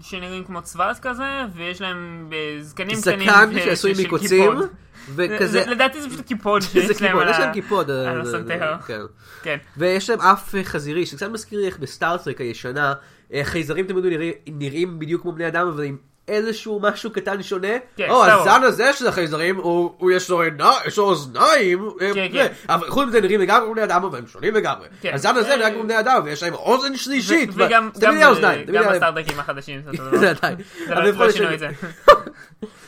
Speaker 2: שנראים כמו צוות כזה, ויש להם אה, זקנים קטנים
Speaker 1: זקן
Speaker 2: ש-
Speaker 1: שעשוי
Speaker 2: של
Speaker 1: מקוצים,
Speaker 2: קיפוד.
Speaker 1: וכזה,
Speaker 2: זה- לדעתי זה פשוט קיפוד
Speaker 1: זה
Speaker 2: שיש להם
Speaker 1: קיפוד,
Speaker 2: על
Speaker 1: יש
Speaker 2: ה-
Speaker 1: להם קיפוד, אה,
Speaker 2: על
Speaker 1: אה,
Speaker 2: הסנטר.
Speaker 1: כן.
Speaker 2: כן.
Speaker 1: ויש להם אף אה, חזירי, שקצת מזכיר לי איך בסטארטרק הישנה, אה, חייזרים תמיד נראים- נראים בדיוק כמו בני אדם, אבל עם איזשהו משהו קטן שונה.
Speaker 2: כן,
Speaker 1: או,
Speaker 2: Star Wars.
Speaker 1: הזן הזה של החייזרים, הוא הוא יש לו עיניים, יש לו אוזניים, אה,
Speaker 2: כן,
Speaker 1: זה.
Speaker 2: כן.
Speaker 1: אבל חוץ מזה נראים לגמרי כמו בני אדם, אבל הם שונים לגמרי.
Speaker 2: כן.
Speaker 1: הזן הזה
Speaker 2: אה,
Speaker 1: נראה כמו בני אדם, ויש להם אוזן שלישית.
Speaker 2: ו- וגם
Speaker 1: זה
Speaker 2: גם,
Speaker 1: תמיד האוזניים,
Speaker 2: אה,
Speaker 1: תמיד
Speaker 2: גם
Speaker 1: האוזניים.
Speaker 2: הסטארדקים החדשים זה
Speaker 1: זה
Speaker 2: אותו דבר.
Speaker 1: עדיין.
Speaker 2: זה
Speaker 1: אבל
Speaker 2: לא-
Speaker 1: בכל
Speaker 2: לא שינו את
Speaker 1: זאת-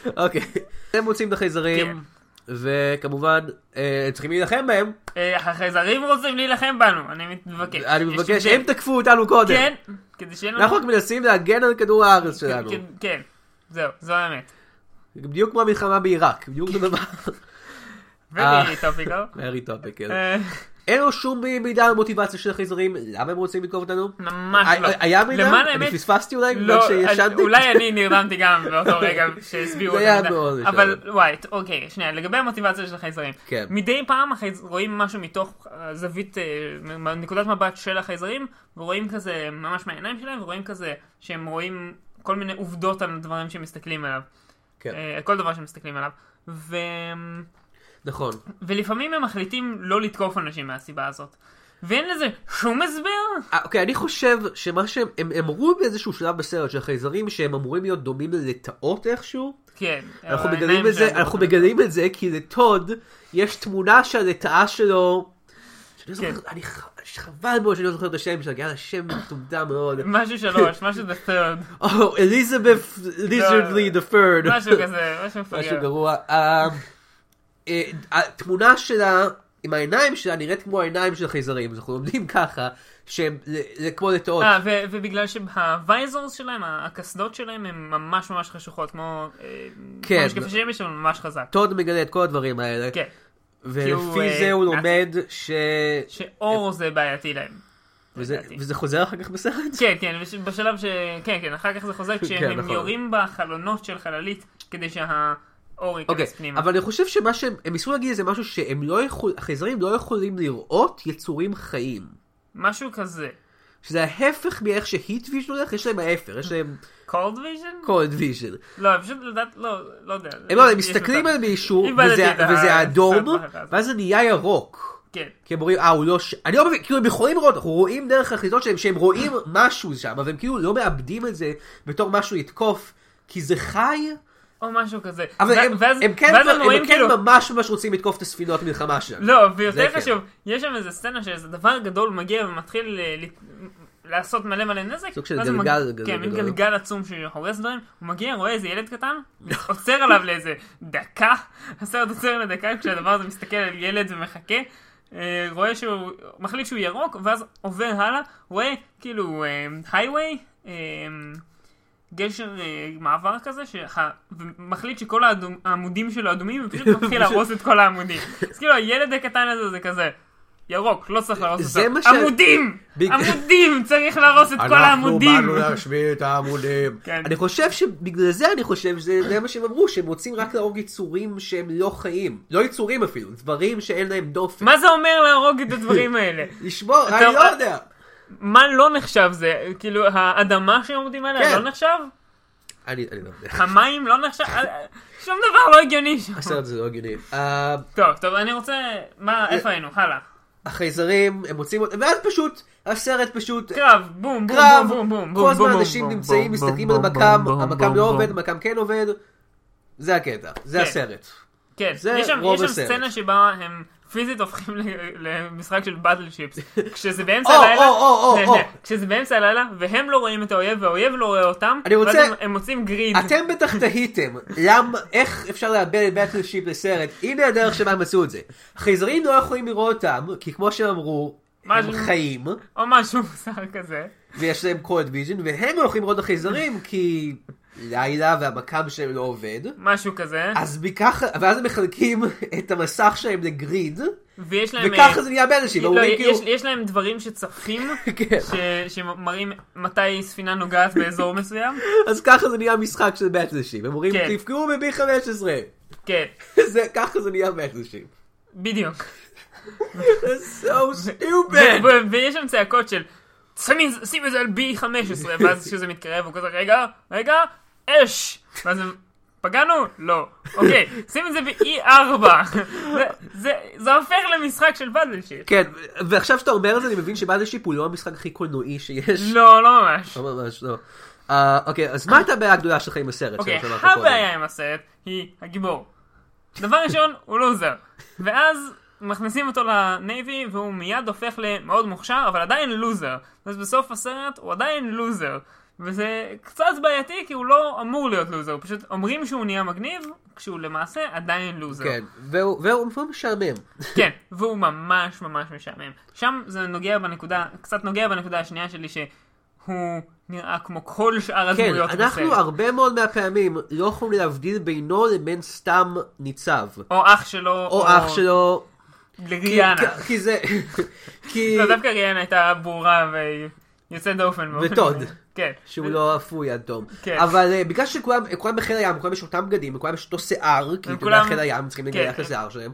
Speaker 2: זה.
Speaker 1: אוקיי. הם מוצאים את החייזרים,
Speaker 2: כן.
Speaker 1: וכמובן, אה, הם צריכים להילחם בהם.
Speaker 2: אה, החייזרים רוצים להילחם בנו, אני מבקש.
Speaker 1: אני
Speaker 2: כן, יש
Speaker 1: מבקש,
Speaker 2: הבדל.
Speaker 1: הם תקפו אותנו קודם.
Speaker 2: כן, כדי שיהיה לנו...
Speaker 1: אנחנו רק מנסים להגן על כדור הארץ שלנו.
Speaker 2: כן, כן, זהו, זו האמת.
Speaker 1: בדיוק כמו המלחמה בעיראק, בדיוק
Speaker 2: כן.
Speaker 1: אותו דבר. אה.
Speaker 2: ולי טופיקו.
Speaker 1: מרי טופק, כן.
Speaker 2: אה,
Speaker 1: אין לו שום מידע על מוטיבציה של החייזרים, למה הם רוצים לתקוף אותנו?
Speaker 2: ממש לא.
Speaker 1: ה- אה, היה מידע?
Speaker 2: למען
Speaker 1: אני
Speaker 2: האמת,
Speaker 1: פספסתי אולי? בגלל
Speaker 2: לא, אז
Speaker 1: שישנתי?
Speaker 2: אולי אני נרדמתי גם באותו רגע שהסבירו
Speaker 1: זה
Speaker 2: את
Speaker 1: היה
Speaker 2: העמדה.
Speaker 1: מאוד
Speaker 2: אבל
Speaker 1: משעמם.
Speaker 2: וואי, ת- אוקיי, שנייה, לגבי המוטיבציה של החייזרים.
Speaker 1: כן.
Speaker 2: מדי פעם החייז- רואים משהו מתוך אה, זווית, אה, מ- מ- נקודת מבט של החייזרים, ורואים כזה, ממש מהעיניים שלהם, ורואים כזה שהם רואים כל מיני עובדות על דברים שמסתכלים עליו.
Speaker 1: כן.
Speaker 2: אה, כל דבר שמסתכלים עליו. ו...
Speaker 1: נכון.
Speaker 2: ולפעמים הם מחליטים לא לתקוף אנשים מהסיבה הזאת. ואין לזה שום הסבר?
Speaker 1: אה, אוקיי, אני חושב שמה שהם הם אמרו באיזשהו שלב בסרט של החייזרים, שהם אמורים להיות דומים ללטאות איכשהו.
Speaker 2: כן.
Speaker 1: אנחנו
Speaker 2: העיניים
Speaker 1: מגלים את זה,
Speaker 2: שלהם-
Speaker 1: אנחנו מגלים את זה כי לטוד יש תמונה שהלטאה שלו. שאני לא
Speaker 2: כן.
Speaker 1: זוכר, אני ח- חבל מאוד שאני לא זוכר את השם שלה, כי היה לה שם מטומטם מאוד.
Speaker 2: משהו שלוש, משהו the third,
Speaker 1: או, אליזבת ליזרדלי דה פרד.
Speaker 2: לא, משהו כן. כזה, משהו
Speaker 1: לא. משהו
Speaker 2: מפגר.
Speaker 1: גרוע. אה, אה, התמונה שלה עם העיניים שלה נראית כמו העיניים של החייזרים, אז אנחנו לומדים ככה, שהם זה- זה כמו לטאות.
Speaker 2: אה, ו- ובגלל שהוויזורס שלהם, הקסדות שלהם, הן ממש ממש חשוכות, כמו... אה,
Speaker 1: כן.
Speaker 2: כמו משקפי שמש, אבל ממש חזק.
Speaker 1: טוד מגלה את כל הדברים האלה,
Speaker 2: כן. כי הוא,
Speaker 1: ולפי
Speaker 2: אה,
Speaker 1: זה הוא
Speaker 2: נאצי.
Speaker 1: לומד ש...
Speaker 2: שאור זה בעייתי להם.
Speaker 1: וזה-
Speaker 2: לדעתי.
Speaker 1: וזה חוזר אחר כך בסרט?
Speaker 2: כן, כן, בש- בשלב ש... כן, כן, אחר כך זה חוזר, כשהם
Speaker 1: נכון.
Speaker 2: יורים בחלונות של חללית, כדי שהאור
Speaker 1: אוקיי,
Speaker 2: ייכנס פנימה.
Speaker 1: אבל אני חושב שמה שהם הם ניסו להגיד זה משהו שהם לא יכולים, החייזרים לא יכולים לראות יצורים חיים.
Speaker 2: משהו כזה.
Speaker 1: שזה ההפך מאיך שהיט ויז'ן הולך, יש להם ההפך, יש להם
Speaker 2: cold vision?
Speaker 1: קולד ויז'ן.
Speaker 2: לא, פשוט לדעת, לא, לא יודע.
Speaker 1: הם לא, הם
Speaker 2: יש
Speaker 1: מסתכלים
Speaker 2: מצב.
Speaker 1: על מישהו,
Speaker 2: איבדתי
Speaker 1: וזה-
Speaker 2: את ה-
Speaker 1: וזה אדום,
Speaker 2: הסרט בהקלטה.
Speaker 1: ואז זה נהיה ירוק.
Speaker 2: כן.
Speaker 1: כי הם אומרים, אה, הוא לא ש... אני לא מבין, כאילו הם יכולים לראות, אנחנו רואים דרך החזיתות שלהם שהם רואים משהו שם, אבל הם כאילו לא מאבדים את זה בתור משהו לתקוף, כי זה חי,
Speaker 2: או משהו כזה.
Speaker 1: אבל
Speaker 2: ו-
Speaker 1: הם
Speaker 2: ואז-
Speaker 1: הם כן
Speaker 2: ואז
Speaker 1: כבר-
Speaker 2: הם רואים
Speaker 1: הם כן
Speaker 2: כאילו...
Speaker 1: ממש ממש רוצים לתקוף את הספינות מלחמה שלהם.
Speaker 2: לא,
Speaker 1: זה
Speaker 2: ויותר
Speaker 1: כן.
Speaker 2: חשוב, יש שם איזה סצנה שאיזה דבר גדול מגיע ומתחיל ל- ל- לעשות מלא מלא נזק.
Speaker 1: סוג של
Speaker 2: ואז הוא
Speaker 1: גלגל
Speaker 2: מג-
Speaker 1: כזה
Speaker 2: כן, מין
Speaker 1: גדול.
Speaker 2: גלגל עצום שהורס דברים. הוא מגיע, רואה איזה ילד קטן, עוצר עליו לאיזה דקה, הסרט עוצר לדקה כשהדבר הזה מסתכל על ילד ומחכה. אה, רואה שהוא מחליט שהוא ירוק, ואז עובר הלאה, רואה כאילו הייווי, אה, גשר אה, מעבר כזה, שה- ומחליט שכל האדום- העמודים שלו אדומים, ופשוט מתחיל להרוס את כל העמודים. אז כאילו הילד הקטן הזה זה כזה, ירוק, לא צריך להרוס
Speaker 1: זה מה ש-
Speaker 2: אותו. עמודים!
Speaker 1: בג-
Speaker 2: עמודים! צריך להרוס את כל העמודים!
Speaker 1: להשמיע את העמודים.
Speaker 2: כן.
Speaker 1: אני חושב שבגלל זה אני חושב שזה זה מה שהם אמרו, שהם רוצים רק להרוג יצורים שהם לא חיים. לא יצורים אפילו, דברים שאין להם דופן.
Speaker 2: מה זה אומר להרוג את הדברים האלה?
Speaker 1: לשמור,
Speaker 2: אתה-
Speaker 1: אני לא יודע.
Speaker 2: מה לא נחשב זה? כאילו, האדמה שעומדים
Speaker 1: כן.
Speaker 2: עליה לא נחשב?
Speaker 1: אני אני לא יודע.
Speaker 2: המים לא נחשב? אה, שום דבר לא הגיוני שם.
Speaker 1: הסרט הזה לא הגיוני. אה,
Speaker 2: טוב, טוב, אני רוצה... מה, איפה היינו? הלאה.
Speaker 1: החייזרים, הם מוצאים אותם, ואז פשוט, הסרט פשוט,
Speaker 2: קרב, בום, בום,
Speaker 1: קרב,
Speaker 2: בום,
Speaker 1: כל
Speaker 2: בום, בום, כן. בום,
Speaker 1: הזמן
Speaker 2: בום,
Speaker 1: אנשים
Speaker 2: בום,
Speaker 1: נמצאים,
Speaker 2: בום,
Speaker 1: מסתכלים על
Speaker 2: בום,
Speaker 1: המקם,
Speaker 2: בום,
Speaker 1: המקם
Speaker 2: בום,
Speaker 1: לא
Speaker 2: בום.
Speaker 1: עובד, המקם כן עובד, זה הקטע, זה
Speaker 2: כן.
Speaker 1: הסרט.
Speaker 2: כן,
Speaker 1: זה
Speaker 2: יש שם,
Speaker 1: רוב
Speaker 2: יש שם
Speaker 1: הסרט.
Speaker 2: סצנה שבה הם פיזית הופכים ל- למשחק של באטל שיפס. כשזה באמצע
Speaker 1: או,
Speaker 2: הלילה,
Speaker 1: או, או, או,
Speaker 2: שנייה,
Speaker 1: או.
Speaker 2: שנייה. כשזה באמצע הלילה, והם לא רואים את האויב, והאויב לא רואה אותם,
Speaker 1: אני רוצה-
Speaker 2: ואז הם- הם מוצאים גריד.
Speaker 1: אתם בטח תהיתם, למה, איך אפשר לאבד את בטלשיפ לסרט, הנה הדרך שבה הם עשו את זה. חייזרים לא יכולים לראות אותם, כי כמו שהם אמרו, הם
Speaker 2: משהו.
Speaker 1: חיים,
Speaker 2: או משהו מוזר כזה.
Speaker 1: ויש להם קולד ויז'ן, והם לא יכולים לראות את החייזרים, כי לילה והמקם שלהם לא עובד.
Speaker 2: משהו כזה.
Speaker 1: אז מככה, ואז הם מחלקים את המסך שלהם לגריד,
Speaker 2: ויש להם...
Speaker 1: וככה
Speaker 2: אה,
Speaker 1: זה נהיה באנשים,
Speaker 2: לא,
Speaker 1: אומרים כאילו,
Speaker 2: יש, יש להם דברים שצפים,
Speaker 1: כן.
Speaker 2: ש- שמראים מתי ספינה נוגעת באזור מסוים.
Speaker 1: אז ככה זה נהיה משחק של באטלשיפ, הם אומרים
Speaker 2: כן.
Speaker 1: תפגעו ב-B15,
Speaker 2: כן,
Speaker 1: זה- ככה זה נהיה באטלשיפ.
Speaker 2: בדיוק.
Speaker 1: That's so
Speaker 2: ו-
Speaker 1: stupid!
Speaker 2: ו- ויש שם צעקות של "שמים- שים את זה על B15 ואז כשזה מתקרב הוא כזה רגע רגע אש ואז הם פגענו? לא. אוקיי, שים את זה ב-E4. זה- זה- זה הופך למשחק של פאדל שיט.
Speaker 1: כן, ועכשיו שאתה אומר את זה אני מבין שבאטלשיפ הוא לא המשחק הכי קולנועי שיש.
Speaker 2: לא, לא ממש.
Speaker 1: לא ממש לא. אה, אוקיי, אז מה הייתה הבעיה הגדולה שלך עם הסרט?
Speaker 2: אוקיי,
Speaker 1: שלא שמעת קודם?
Speaker 2: הבעיה עם הסרט היא הגיבור. דבר ראשון, הוא לוזר. ואז מכניסים אותו לנייבי והוא מיד הופך למאוד מוכשר, אבל עדיין לוזר. אז בסוף הסרט הוא עדיין לוזר. וזה קצת בעייתי כי הוא לא אמור להיות לוזר, פשוט אומרים שהוא נהיה מגניב, כשהוא למעשה עדיין לוזר.
Speaker 1: כן, והוא והוא- והוא משעמם.
Speaker 2: כן, והוא ממש ממש משעמם. שם זה נוגע בנקודה, קצת נוגע בנקודה השנייה שלי שהוא נראה כמו כל שאר
Speaker 1: כן,
Speaker 2: הדמויות בסרט.
Speaker 1: אנחנו הרבה מאוד מהפעמים לא יכולים להבדיל בינו לבין סתם ניצב.
Speaker 2: או אח שלו,
Speaker 1: או אח שלו. כן, כי-
Speaker 2: לריאנה.
Speaker 1: כי- כי זה... כי...
Speaker 2: לא, דווקא ריאנה הייתה ברורה ויוצאת דופן. באופן-
Speaker 1: וטוד.
Speaker 2: כן.
Speaker 1: שהוא לא אפוי אדום.
Speaker 2: כן.
Speaker 1: אבל אה, בגלל שכולם כולם בחיל הים, כולם יש אותם בגדים, לכולם יש אותו שיער, כי
Speaker 2: הם
Speaker 1: אתה יודע,
Speaker 2: כולם-
Speaker 1: חיל הים צריכים
Speaker 2: כן. Mm-hmm.
Speaker 1: לגלח את השיער שלהם.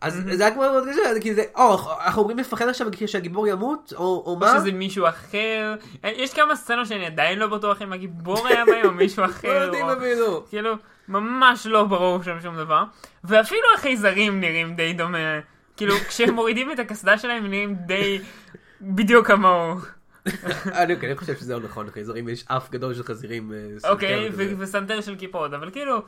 Speaker 1: אז זה היה כמו מאוד קשה, זה כי זה, או, אנחנו אומרים לפחד עכשיו שהגיבור ימות, או או מה? לא
Speaker 2: שזה מישהו אחר. יש כמה סצנות שאני עדיין לא בטוח אם הגיבור היה בהם או מישהו אחר.
Speaker 1: לא יודעים
Speaker 2: כן, או-
Speaker 1: אפילו.
Speaker 2: כאילו, ממש לא ברור שם שום דבר. ואפילו החייזרים נראים די דומה. כאילו, כשהם מורידים את הקסדה שלהם הם נראים די בדיוק כמוהו.
Speaker 1: אני כן, אני חושב שזה לא נכון, חייזרים, יש אף גדול של חזירים. אה, סרטן
Speaker 2: אוקיי,
Speaker 1: כזה.
Speaker 2: ו- וסנטר של קיפוד. אבל כאילו,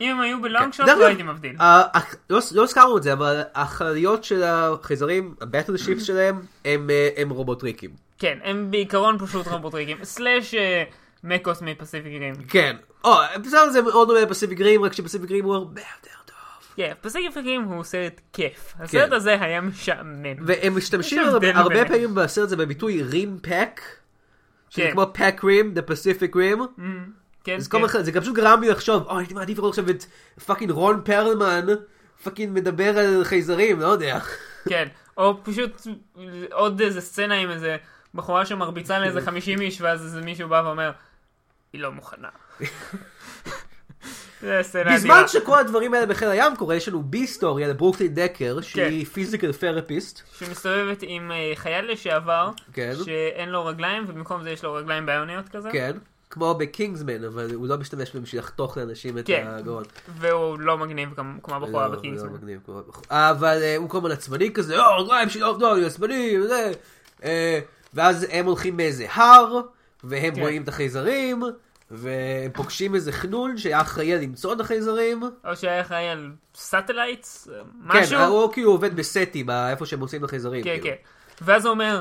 Speaker 2: אם הם היו בלונג שוט
Speaker 1: כן. דרך
Speaker 2: לא
Speaker 1: אגב,
Speaker 2: הייתי מבדיל.
Speaker 1: אה, הח- לא לא הזכרנו את זה, אבל החליות של החייזרים, הבטל
Speaker 2: Mm-hmm.
Speaker 1: שיפס שלהם, הם, אה, הם רובוטריקים.
Speaker 2: כן, הם בעיקרון פשוט רובוטריקים. סלאש אה, מקוס מפסיפיק רים.
Speaker 1: כן. או, בסדר, זה מאוד דומה לפסיפיק רים, רק שפסיפיק רים הוא הרבה יותר טוב.
Speaker 2: כן, פסיפיק רים הוא סרט כיף.
Speaker 1: כן.
Speaker 2: הסרט הזה היה משעמם.
Speaker 1: והם משתמשים
Speaker 2: יש הבדל
Speaker 1: הרבה
Speaker 2: ביניהם.
Speaker 1: פעמים בסרט הזה בביטוי רים פק, שזה
Speaker 2: כן.
Speaker 1: כמו פק רים, the Pacific rim.
Speaker 2: כן,
Speaker 1: אז כל
Speaker 2: כן.
Speaker 1: אחד, זה גם פשוט גרם לי לחשוב, אוי, הייתי מעדיף לראות עכשיו את פאקינג רון פרלמן, פאקינג מדבר על חייזרים, לא יודע.
Speaker 2: כן. או פשוט עוד איזה סצנה עם איזה בחורה
Speaker 1: כן.
Speaker 2: שמרביצה לאיזה 50 איש, ואז איזה מישהו בא ואומר, היא לא מוכנה. זה סצנה אדירה.
Speaker 1: בזמן שכל הדברים האלה בחיל הים קורה, יש לנו בי סטורי על ברוקלין
Speaker 2: כן.
Speaker 1: דקר, שהיא פיזיקל תרפיסט.
Speaker 2: שמסתובבת עם אה, חייל לשעבר,
Speaker 1: כן.
Speaker 2: שאין לו רגליים, ובמקום זה יש לו רגליים ביוניות כזה.
Speaker 1: כן. כמו בקינגסמן, אבל הוא לא משתמש בהם בשביל לחתוך לאנשים את
Speaker 2: כן.
Speaker 1: הגרון.
Speaker 2: והוא לא מגניב כמו כמו
Speaker 1: לא,
Speaker 2: הבחורה
Speaker 1: לא
Speaker 2: בקינגסמן.
Speaker 1: מגניב, כמו הבחור. אבל אה, הוא כל הזמן עצבני כזה, או, רגליים שלי עובדות, אני עצבני, וזה. אה, ואז הם הולכים מאיזה הר, והם
Speaker 2: כן.
Speaker 1: רואים את החייזרים, והם פוגשים איזה חנון שהיה אחראי על למצוא את החייזרים.
Speaker 2: או שהיה אחראי על סאטלייטס,
Speaker 1: כן,
Speaker 2: משהו.
Speaker 1: הוא כאילו עובד בסטים, ה- איפה שהם מוצאים את החייזרים.
Speaker 2: כן,
Speaker 1: כאילו.
Speaker 2: כן. ואז הוא אומר,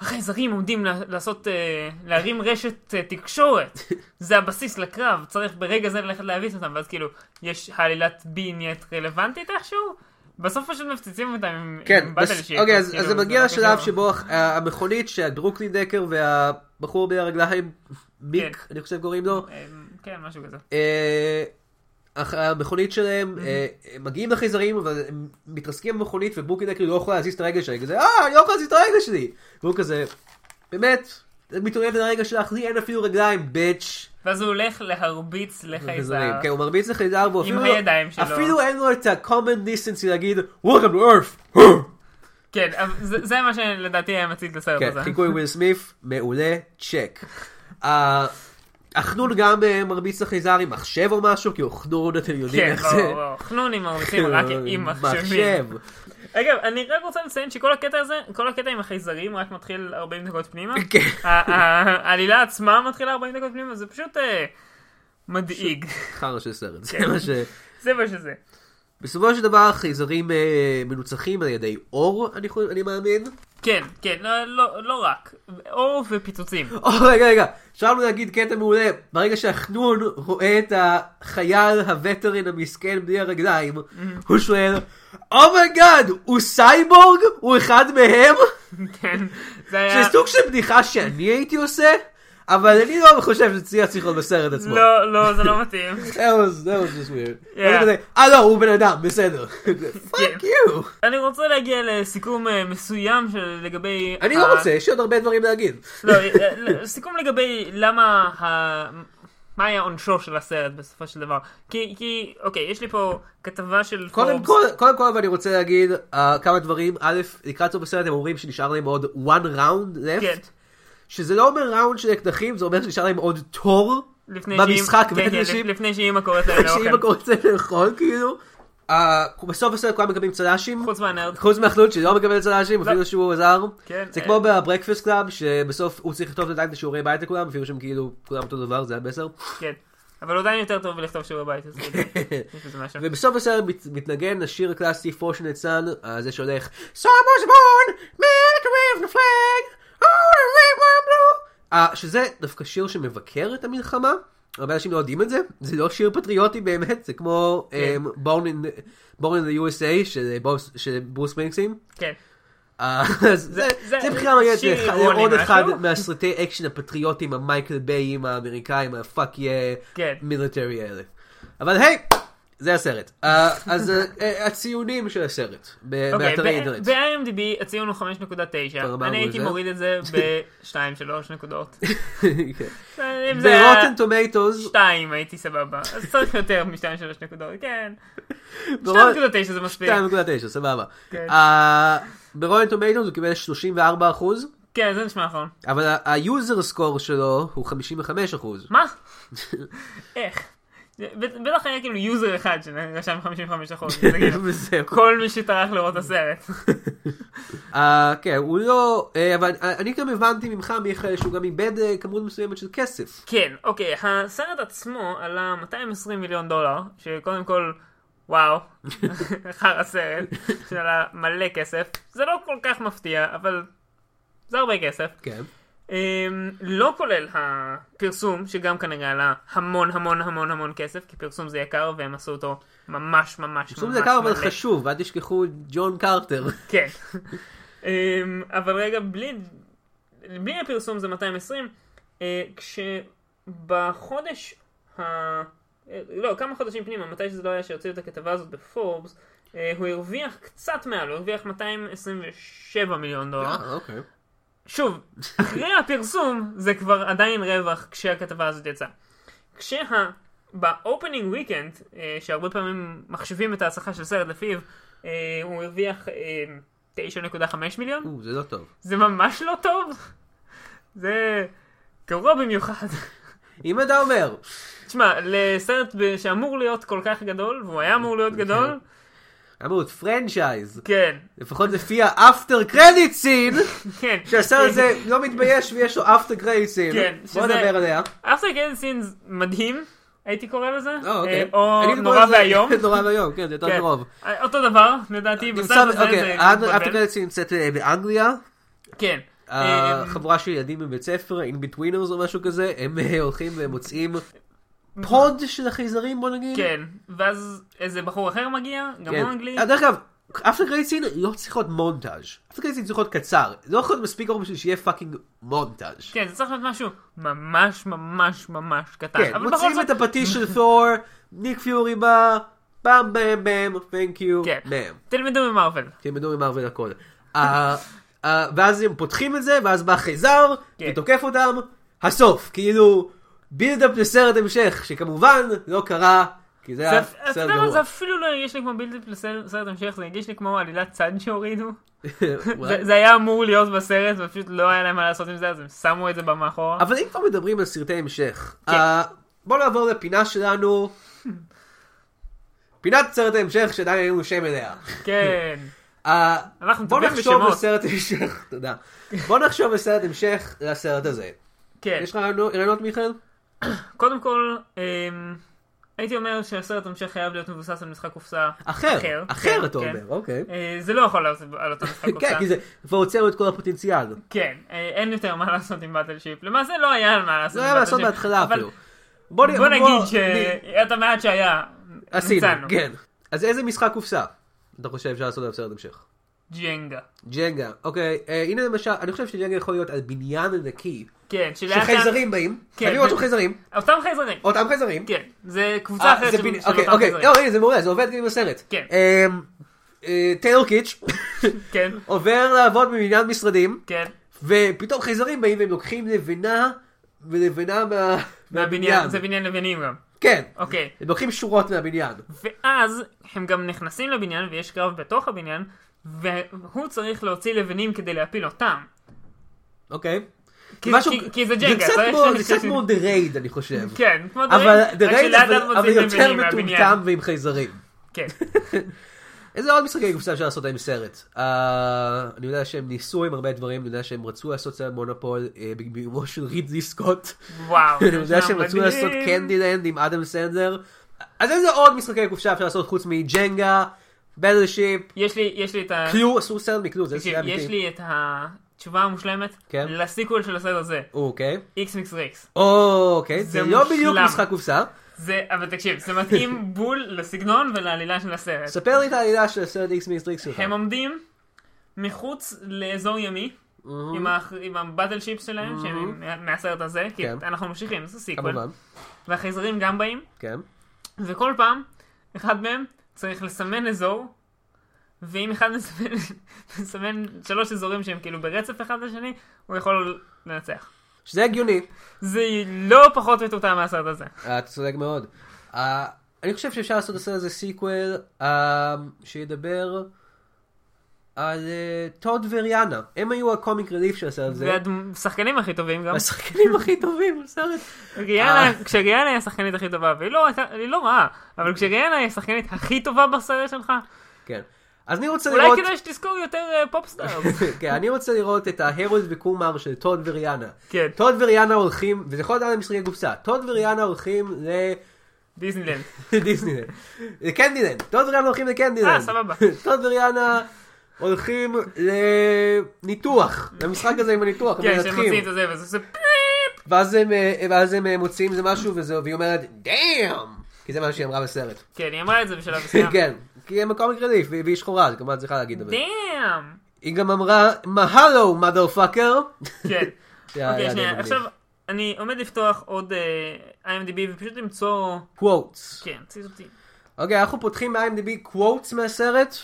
Speaker 2: החייזרים עומדים לה- לעשות, אה, להרים רשת אה, תקשורת. זה הבסיס לקרב, צריך ברגע זה ללכת להביס אותם. ואז כאילו, יש העלילת בי נהיית רלוונטית איכשהו? בסוף פשוט מפציצים אותם עם
Speaker 1: כן,
Speaker 2: באטל
Speaker 1: בס-
Speaker 2: שיט,
Speaker 1: אוקיי, אז
Speaker 2: כאילו,
Speaker 1: אז זה מגיע
Speaker 2: לא
Speaker 1: לשלב
Speaker 2: קשור.
Speaker 1: שבו ה- המכונית שהדרוקלין דקר והבחור בלי הרגליים
Speaker 2: כן.
Speaker 1: ביק, אני חושב קוראים לו.
Speaker 2: אה, כן, משהו כזה.
Speaker 1: אה, אך המכונית שלהם, אה, הם מגיעים לחייזרים, אבל הם מתרסקים במכונית, ובוקינג כאילו לא יכול להזיז את הרגל שלי, כזה, אה, אני לא יכול להזיז את הרגל שלי! והוא כזה, באמת, את מתאוהבת על הרגל שלך, לי אין אפילו רגליים, ביץ'.
Speaker 2: ואז הוא הולך להרביץ
Speaker 1: חייזרים.
Speaker 2: לחייזר.
Speaker 1: כן, הוא מרביץ לחייזר, והוא
Speaker 2: עם
Speaker 1: אפילו לא-
Speaker 2: הידיים שלו.
Speaker 1: אפילו אין לו את ה-common distance להגיד, Welcome to earth!
Speaker 2: כן, אבל זה זה מה שלדעתי היה מציג לסרט הזה.
Speaker 1: כן, חיקוי וויל סמיף, מעולה, צ'ק. אה, החנון גם אה, מרביץ לחייזר עם מחשב או משהו, כי הוא חנון, אתם יודעים
Speaker 2: כן,
Speaker 1: איך זה.
Speaker 2: ברור, ברור. חנונים מרביצים רק עם כן, מחשבים. אגב, אני רק רוצה לציין שכל הקטע הזה, כל הקטע עם החייזרים רק מתחיל 40 דקות פנימה.
Speaker 1: כן.
Speaker 2: ה- ה- העלילה עצמה מתחילה 40 דקות פנימה, זה פשוט אה, מדאיג.
Speaker 1: חרא של סרט, זה
Speaker 2: כן.
Speaker 1: מה ש...
Speaker 2: זה מה שזה.
Speaker 1: בסופו של דבר חייזרים אה, מנוצחים על ידי אור, אני חו- אני מאמין.
Speaker 2: כן, כן, לא- לא לא רק. אור ופיצוצים.
Speaker 1: או, רגע, רגע, אפשר להגיד קטע מעולה. ברגע שהחנון רואה את החייל הווטרן המסכן בלי הרגליים,
Speaker 2: Mm-hmm.
Speaker 1: הוא שואל, אומייגאד, הוא סייבורג? הוא אחד מהם?
Speaker 2: כן, זה היה...
Speaker 1: זה סוג של בדיחה שאני הייתי עושה, אבל אני לא חושב שזה היה צריך להיות בסרט עצמו.
Speaker 2: לא, לא, זה לא מתאים.
Speaker 1: That was, that was just weird.
Speaker 2: Yeah.
Speaker 1: כזה, אה לא, הוא בן אדם, בסדר.
Speaker 2: כן.
Speaker 1: פאק יו.
Speaker 2: אני רוצה להגיע לסיכום אה, מסוים של לגבי...
Speaker 1: אני
Speaker 2: ה-
Speaker 1: לא רוצה, יש לי עוד הרבה דברים להגיד.
Speaker 2: לא, אה, לא, סיכום לגבי למה ה... מה היה עונשו של הסרט בסופו של דבר. כי, כי, אוקיי, יש לי פה כתבה של
Speaker 1: קודם
Speaker 2: פורבס.
Speaker 1: כל, קודם כל, ואני רוצה להגיד אה, כמה דברים. א', לקראת סוף הסרט הם אומרים שנשאר להם עוד one round
Speaker 2: כן,
Speaker 1: left, שזה לא אומר ראונד של אקדחים, זה אומר שנשאר להם עוד תור
Speaker 2: לפני שהיא-
Speaker 1: במשחק
Speaker 2: כן,
Speaker 1: בין
Speaker 2: כן,
Speaker 1: אנשים.
Speaker 2: לפני שאימא קוראת להם
Speaker 1: שאם אתה
Speaker 2: לאוכל.
Speaker 1: רוצה לאכול, כאילו. אה, בסוף הסרט כולם מקבלים צל"שים.
Speaker 2: חוץ מהנרד.
Speaker 1: חוץ מהחלוץ שלא מקבל צל"שים, אפילו שהוא עזר.
Speaker 2: כן,
Speaker 1: זה
Speaker 2: אה.
Speaker 1: כמו בברקפסט קלאב, שבסוף הוא צריך לכתוב עדיין את השיעורי בית לכולם, אפילו שהם כאילו כולם אותו דבר, זה המסר.
Speaker 2: כן. אבל עדיין יותר טוב לכתוב שהוא בבית. אז כאילו, יש בזה משהו.
Speaker 1: ובסוף הסרט מת, מתנגן השיר הקלאסי פורשנט סאן, זה שהולך Summer's born, make with the flag, all the red one blue. אה, שזה דווקא שיר שמבקר את המלחמה, הרבה אנשים לא יודעים את זה, זה לא שיר פטריוטי באמת, זה כמו
Speaker 2: כן.
Speaker 1: אמ, born, in, born in the USA של ברוס- של ברוס פרינגסטין.
Speaker 2: כן.
Speaker 1: אה, אז זה
Speaker 2: זה-
Speaker 1: זה בכלל מעניין,
Speaker 2: שיר
Speaker 1: זה אחד-
Speaker 2: אירוני
Speaker 1: עוד
Speaker 2: משהו.
Speaker 1: אחד מהסרטי אקשן הפטריוטים, המייקל ביים האמריקאים, הפאק יא
Speaker 2: כן.
Speaker 1: מיליטרי האלה. אבל היי, זה הסרט. אה, אז אה, אה, הציונים של הסרט, ב-
Speaker 2: אוקיי,
Speaker 1: באתרי
Speaker 2: ב-
Speaker 1: אינטרנט.
Speaker 2: ב-IMDb הציון הוא 5.9.
Speaker 1: כבר אמרנו
Speaker 2: אני
Speaker 1: את
Speaker 2: הייתי
Speaker 1: זה.
Speaker 2: מוריד את זה ב-2-3 נקודות.
Speaker 1: כן.
Speaker 2: אם זה היה
Speaker 1: ב-Rotten Tomatoes,
Speaker 2: 2 הייתי סבבה. אז צריך יותר מ-2-3 נקודות, כן.
Speaker 1: ברור-
Speaker 2: 2.9 זה מספיק.
Speaker 1: 2.9, סבבה. אה,
Speaker 2: כן.
Speaker 1: ב-Rotten Tomatoes הוא קיבל 34 אחוז,
Speaker 2: כן, זה נשמע נכון.
Speaker 1: אבל ה- ה-user score שלו הוא 55 אחוז.
Speaker 2: מה? איך? בט- בטח היה כאילו יוזר אחד שרשם 55 אחוז.
Speaker 1: וזהו.
Speaker 2: כל מי שטרח לראות את הסרט.
Speaker 1: אה, כן, הוא לא... אה, אבל אה, אני גם הבנתי ממך, מיכאל, שהוא גם איבד אה, כמות מסוימת של כסף.
Speaker 2: כן, אוקיי, הסרט עצמו עלה 220 מיליון דולר, שקודם כל, וואו, חרא סרט, שעלה מלא כסף. זה לא כל כך מפתיע, אבל זה הרבה כסף.
Speaker 1: כן.
Speaker 2: אמ, לא כולל הפרסום, שגם כנראה עלה המון המון המון המון כסף, כי פרסום זה יקר והם עשו אותו ממש ממש ממש
Speaker 1: פרסום זה יקר אבל
Speaker 2: מלא.
Speaker 1: חשוב, אל תשכחו ג'ון קרטר.
Speaker 2: כן. אמ, אבל רגע, בלי, בלי הפרסום זה 220, אה, כשבחודש ה... אה, לא, כמה חודשים פנימה, מתי שזה לא היה שהוציאו את הכתבה הזאת בפורבס, אה, הוא הרוויח קצת מעל, הוא הרוויח 227 מיליון דולר.
Speaker 1: אוקיי.
Speaker 2: שוב, אחרי הפרסום זה כבר עדיין רווח כשהכתבה הזאת יצאה. כשה... באופנינג וויקנד, אה, שהרבה פעמים מחשבים את ההצלחה של סרט לפיו, אה, הוא הרוויח אה, 9.5 מיליון.
Speaker 1: זה לא טוב.
Speaker 2: זה ממש לא טוב. זה גרוע במיוחד.
Speaker 1: אם אתה אומר,
Speaker 2: תשמע, לסרט ב- שאמור להיות כל כך גדול, והוא היה אמור
Speaker 1: כן.
Speaker 2: להיות גדול,
Speaker 1: אמרו פרנצ'ייז,
Speaker 2: כן,
Speaker 1: לפחות לפי האפטר קרדיט סין,
Speaker 2: כן.
Speaker 1: שהסרט הזה לא מתבייש ויש לו אפטר קרדיט סין.
Speaker 2: כן,
Speaker 1: בוא
Speaker 2: שזה-
Speaker 1: נדבר עליה.
Speaker 2: אפטר קרדיט סינס מדהים, הייתי קורא לזה,
Speaker 1: אה,
Speaker 2: אה,
Speaker 1: אוקיי.
Speaker 2: או
Speaker 1: אני
Speaker 2: נורא
Speaker 1: קורא לזה-
Speaker 2: ואיום.
Speaker 1: נורא ואיום, כן, זה יותר
Speaker 2: כן.
Speaker 1: קרוב.
Speaker 2: אותו דבר, לדעתי,
Speaker 1: נמצא-
Speaker 2: בסרט הזה
Speaker 1: אוקיי,
Speaker 2: זה
Speaker 1: האפטר
Speaker 2: מתבלבל.
Speaker 1: קרדיט סין נמצאת אה, באנגליה,
Speaker 2: כן. אה,
Speaker 1: החבורה של ילדים בבית ספר, in betweeners או משהו כזה, הם אה, הולכים ומוצאים פוד של החייזרים בוא נגיד.
Speaker 2: כן, ואז איזה בחור אחר מגיע, גם
Speaker 1: כן.
Speaker 2: הוא אנגלי.
Speaker 1: אה, דרך אגב, אפטר קרדיטסין לא צריך להיות מונטאז'. אפטר קרדיטסין צריך להיות קצר. זה לא יכול להיות מספיק ארוך בשביל שיהיה פאקינג מונטאז'.
Speaker 2: כן, זה צריך להיות משהו ממש ממש ממש קטן.
Speaker 1: כן,
Speaker 2: אבל בכל
Speaker 1: מוצאים
Speaker 2: זאת-
Speaker 1: את הפטיש של תור, ניק פיורי בא, פעם בם בם, תנק יו,
Speaker 2: כן.
Speaker 1: בם.
Speaker 2: תלמדו ממרוויל.
Speaker 1: תלמדו ממרוויל הכל. אה, אה, ואז הם פותחים את זה, ואז בא חייזר,
Speaker 2: כן.
Speaker 1: ותוקף אותם, הסוף, כאילו, בילדאפ לסרט המשך, שכמובן לא קרה, כי זה
Speaker 2: זה-
Speaker 1: היה
Speaker 2: אתה
Speaker 1: סרט
Speaker 2: יודע מה, זה
Speaker 1: גרוע.
Speaker 2: אפילו לא הרגיש לי כמו בלתי לסרט המשך, זה הרגיש לי כמו עלילת צד שהורידו.
Speaker 1: אולי.
Speaker 2: זה- זה היה אמור להיות בסרט, ופשוט לא היה להם מה לעשות עם זה, אז הם שמו את זה במאחורה.
Speaker 1: אבל אם כבר מדברים על סרטי המשך,
Speaker 2: כן.
Speaker 1: אה, בואו נעבור לפינה שלנו, פינת סרט ההמשך שעדיין אין לנו שם אליה.
Speaker 2: כן.
Speaker 1: אה,
Speaker 2: אנחנו
Speaker 1: בוא
Speaker 2: טובים
Speaker 1: נחשוב על
Speaker 2: בשמות.
Speaker 1: סרט המשך, תודה. בוא נחשוב על סרט המשך לסרט הזה.
Speaker 2: כן.
Speaker 1: יש לך רעיונות- רעיונות מיכאל?
Speaker 2: קודם כל, אמ, הייתי אומר שהסרט המשך חייב להיות מבוסס על משחק קופסה.
Speaker 1: אחר,
Speaker 2: אחר,
Speaker 1: אחר
Speaker 2: כן,
Speaker 1: אתה
Speaker 2: כן.
Speaker 1: אומר, אוקיי.
Speaker 2: אה, זה לא יכול להיות על אותו משחק קופסה.
Speaker 1: כן, כי זה כבר הוצאנו את כל הפוטנציאל.
Speaker 2: כן, אה, אין יותר מה לעשות עם באטלשיפ. למעשה לא היה על מה לעשות
Speaker 1: זה
Speaker 2: עם
Speaker 1: היה לעשות
Speaker 2: Battleship,
Speaker 1: בהתחלה
Speaker 2: אבל
Speaker 1: אפילו. בוא נ-
Speaker 2: בוא נגיד
Speaker 1: נ-
Speaker 2: שאת המעט שהיה,
Speaker 1: עשינו,
Speaker 2: ניצלנו.
Speaker 1: כן. אז איזה משחק קופסה אתה חושב אפשר לעשות עליו סרט המשך?
Speaker 2: ג'נגה.
Speaker 1: ג'נגה, אוקיי, אה, הנה למשל, אני חושב שג'נגה יכול להיות על בניין ענקי,
Speaker 2: כן, שלאט לאט...
Speaker 1: שחייזרים באים,
Speaker 2: כן,
Speaker 1: חייבים
Speaker 2: ו-
Speaker 1: אותם חייזרים,
Speaker 2: אותם חייזרים.
Speaker 1: אותם חייזרים,
Speaker 2: כן, זה קבוצה
Speaker 1: אה,
Speaker 2: אחרת
Speaker 1: זה
Speaker 2: של
Speaker 1: בדיוק-
Speaker 2: של
Speaker 1: אוקיי,
Speaker 2: אותם
Speaker 1: אוקיי,
Speaker 2: חייזרים.
Speaker 1: לא, הנה, זה מעולה, זה עובד גם בסרט.
Speaker 2: כן.
Speaker 1: אמ, אה, טיילור קיץ' אוקיי.
Speaker 2: כן,
Speaker 1: עובר לעבוד בבניין משרדים,
Speaker 2: כן.
Speaker 1: ופתאום חייזרים באים והם לוקחים לבנה ולבנה מה-
Speaker 2: מהבניין, זה בניין לבנים גם.
Speaker 1: כן,
Speaker 2: אוקיי.
Speaker 1: הם לוקחים שורות מהבניין.
Speaker 2: ואז הם גם נכנסים לבניין ויש קרב בתוך הבניין, והוא צריך להוציא לבנים כדי להפיל אותם.
Speaker 1: אוקיי.
Speaker 2: כי-
Speaker 1: משהו-
Speaker 2: כי- כי זה ג'נגה,
Speaker 1: קצת
Speaker 2: צריך
Speaker 1: כמו-
Speaker 2: שני
Speaker 1: זה קצת
Speaker 2: משחקים.
Speaker 1: כמו The Raid, אני חושב.
Speaker 2: כן, כמו דברים,
Speaker 1: אבל The
Speaker 2: רק
Speaker 1: Raid,
Speaker 2: שלאט
Speaker 1: אבל-
Speaker 2: לאט
Speaker 1: אבל
Speaker 2: מוציאים
Speaker 1: יותר
Speaker 2: לבנים מהבניין.
Speaker 1: מטומטם ועם חייזרים.
Speaker 2: כן,
Speaker 1: איזה עוד משחקי קופסה אפשר לעשות עם סרט? אה, אני יודע שהם ניסו עם הרבה דברים, אני יודע שהם רצו לעשות סרט מונופול אה, בגיבורו של רידלי סקוט.
Speaker 2: וואו.
Speaker 1: אני יודע
Speaker 2: שם
Speaker 1: שהם רצו
Speaker 2: מדהים.
Speaker 1: לעשות קנדי לנד עם אדם סנדלר. אז איזה עוד משחקי קופסה אפשר לעשות חוץ מג'נגה, בטלשיפ,
Speaker 2: יש לי, יש לי את ה...
Speaker 1: קלו, עשו סרט מכלו, זה
Speaker 2: תקשיב,
Speaker 1: סרט
Speaker 2: אה. כן, יש
Speaker 1: אמיתי.
Speaker 2: לי את התשובה המושלמת
Speaker 1: כן.
Speaker 2: לסיקוול של הסרט הזה,
Speaker 1: אוקיי.
Speaker 2: איקס מיקס ריקס.
Speaker 1: אוקיי, זה
Speaker 2: זה
Speaker 1: לא בדיוק
Speaker 2: מושלם.
Speaker 1: משחק קופסה.
Speaker 2: זה, אבל תקשיב, זה מתאים בול לסגנון ולעלילה של הסרט.
Speaker 1: ספר לי את העלילה של הסרט איקס מיסטריקס שלך.
Speaker 2: הם עומדים מחוץ לאזור ימי,
Speaker 1: Mm-hmm.
Speaker 2: עם האח- עם הבטל שיפס שלהם, שהם מה- מהסרט הזה, כי
Speaker 1: כן.
Speaker 2: אנחנו ממשיכים, זה סיקוול,
Speaker 1: כמובן,
Speaker 2: והחייזרים גם באים,
Speaker 1: כן.
Speaker 2: וכל פעם, אחד מהם צריך לסמן אזור, ואם אחד מסמן, מסמן שלוש אזורים שהם כאילו ברצף אחד לשני, הוא יכול לנצח.
Speaker 1: שזה הגיוני,
Speaker 2: זה לא פחות מטומטם מהסרט הזה.
Speaker 1: אה, אתה צודק מאוד. אה, אני חושב שאפשר לעשות לסרט הזה סיקוול אה, שידבר על אה, טוד וריאנה. הם היו הקומיק רליף של הסרט הזה.
Speaker 2: והשחקנים הכי טובים גם.
Speaker 1: השחקנים הכי טובים בסרט. אה.
Speaker 2: ריאנה, כשריאנה היא השחקנית הכי טובה, והיא לא הייתה, היא לא רעה, אבל כשריאנה היא השחקנית הכי טובה בסרט שלך,
Speaker 1: כן. אז אני רוצה
Speaker 2: אולי
Speaker 1: לראות...
Speaker 2: כדאי שתזכור יותר אה, פופסטארס.
Speaker 1: כן, אני רוצה לראות את ההרולד וקומר של טוד וריאנה.
Speaker 2: כן.
Speaker 1: טוד וריאנה הולכים, וזה יכול להיות על משחקי קופסה, טוד וריאנה הולכים ל...
Speaker 2: דיסנילנד.
Speaker 1: דיסנילנד. לקנדילנד. טוד וריאנה הולכים לקנדילנד.
Speaker 2: אה, סבבה.
Speaker 1: טוד וריאנה הולכים לניתוח. למשחק הזה עם הניתוח. הם
Speaker 2: כן, שהם
Speaker 1: מנתחים.
Speaker 2: מוציאים את זה וזה עושה פליפ.
Speaker 1: ואז הם, אה, ואז הם אה, מוציאים איזה משהו, וזה- והיא אומרת, דאם! כי זה מה שהיא אמרה בסרט.
Speaker 2: כן, היא אמרה את זה בשלב מסוים.
Speaker 1: כן. כי הם מקום קרדיף, והיא שחורה, אז כמובן צריכה להגיד את זה.
Speaker 2: דאם.
Speaker 1: היא גם אמרה, מהלו, מאדר פאקר.
Speaker 2: כן. אוקיי, שנייה, עכשיו אני עומד לפתוח עוד אה, IMDb ופשוט למצוא...
Speaker 1: קוואטס.
Speaker 2: כן, ציטוטים.
Speaker 1: אוקיי, אנחנו פותחים ב-IMDb קוואטס מהסרט.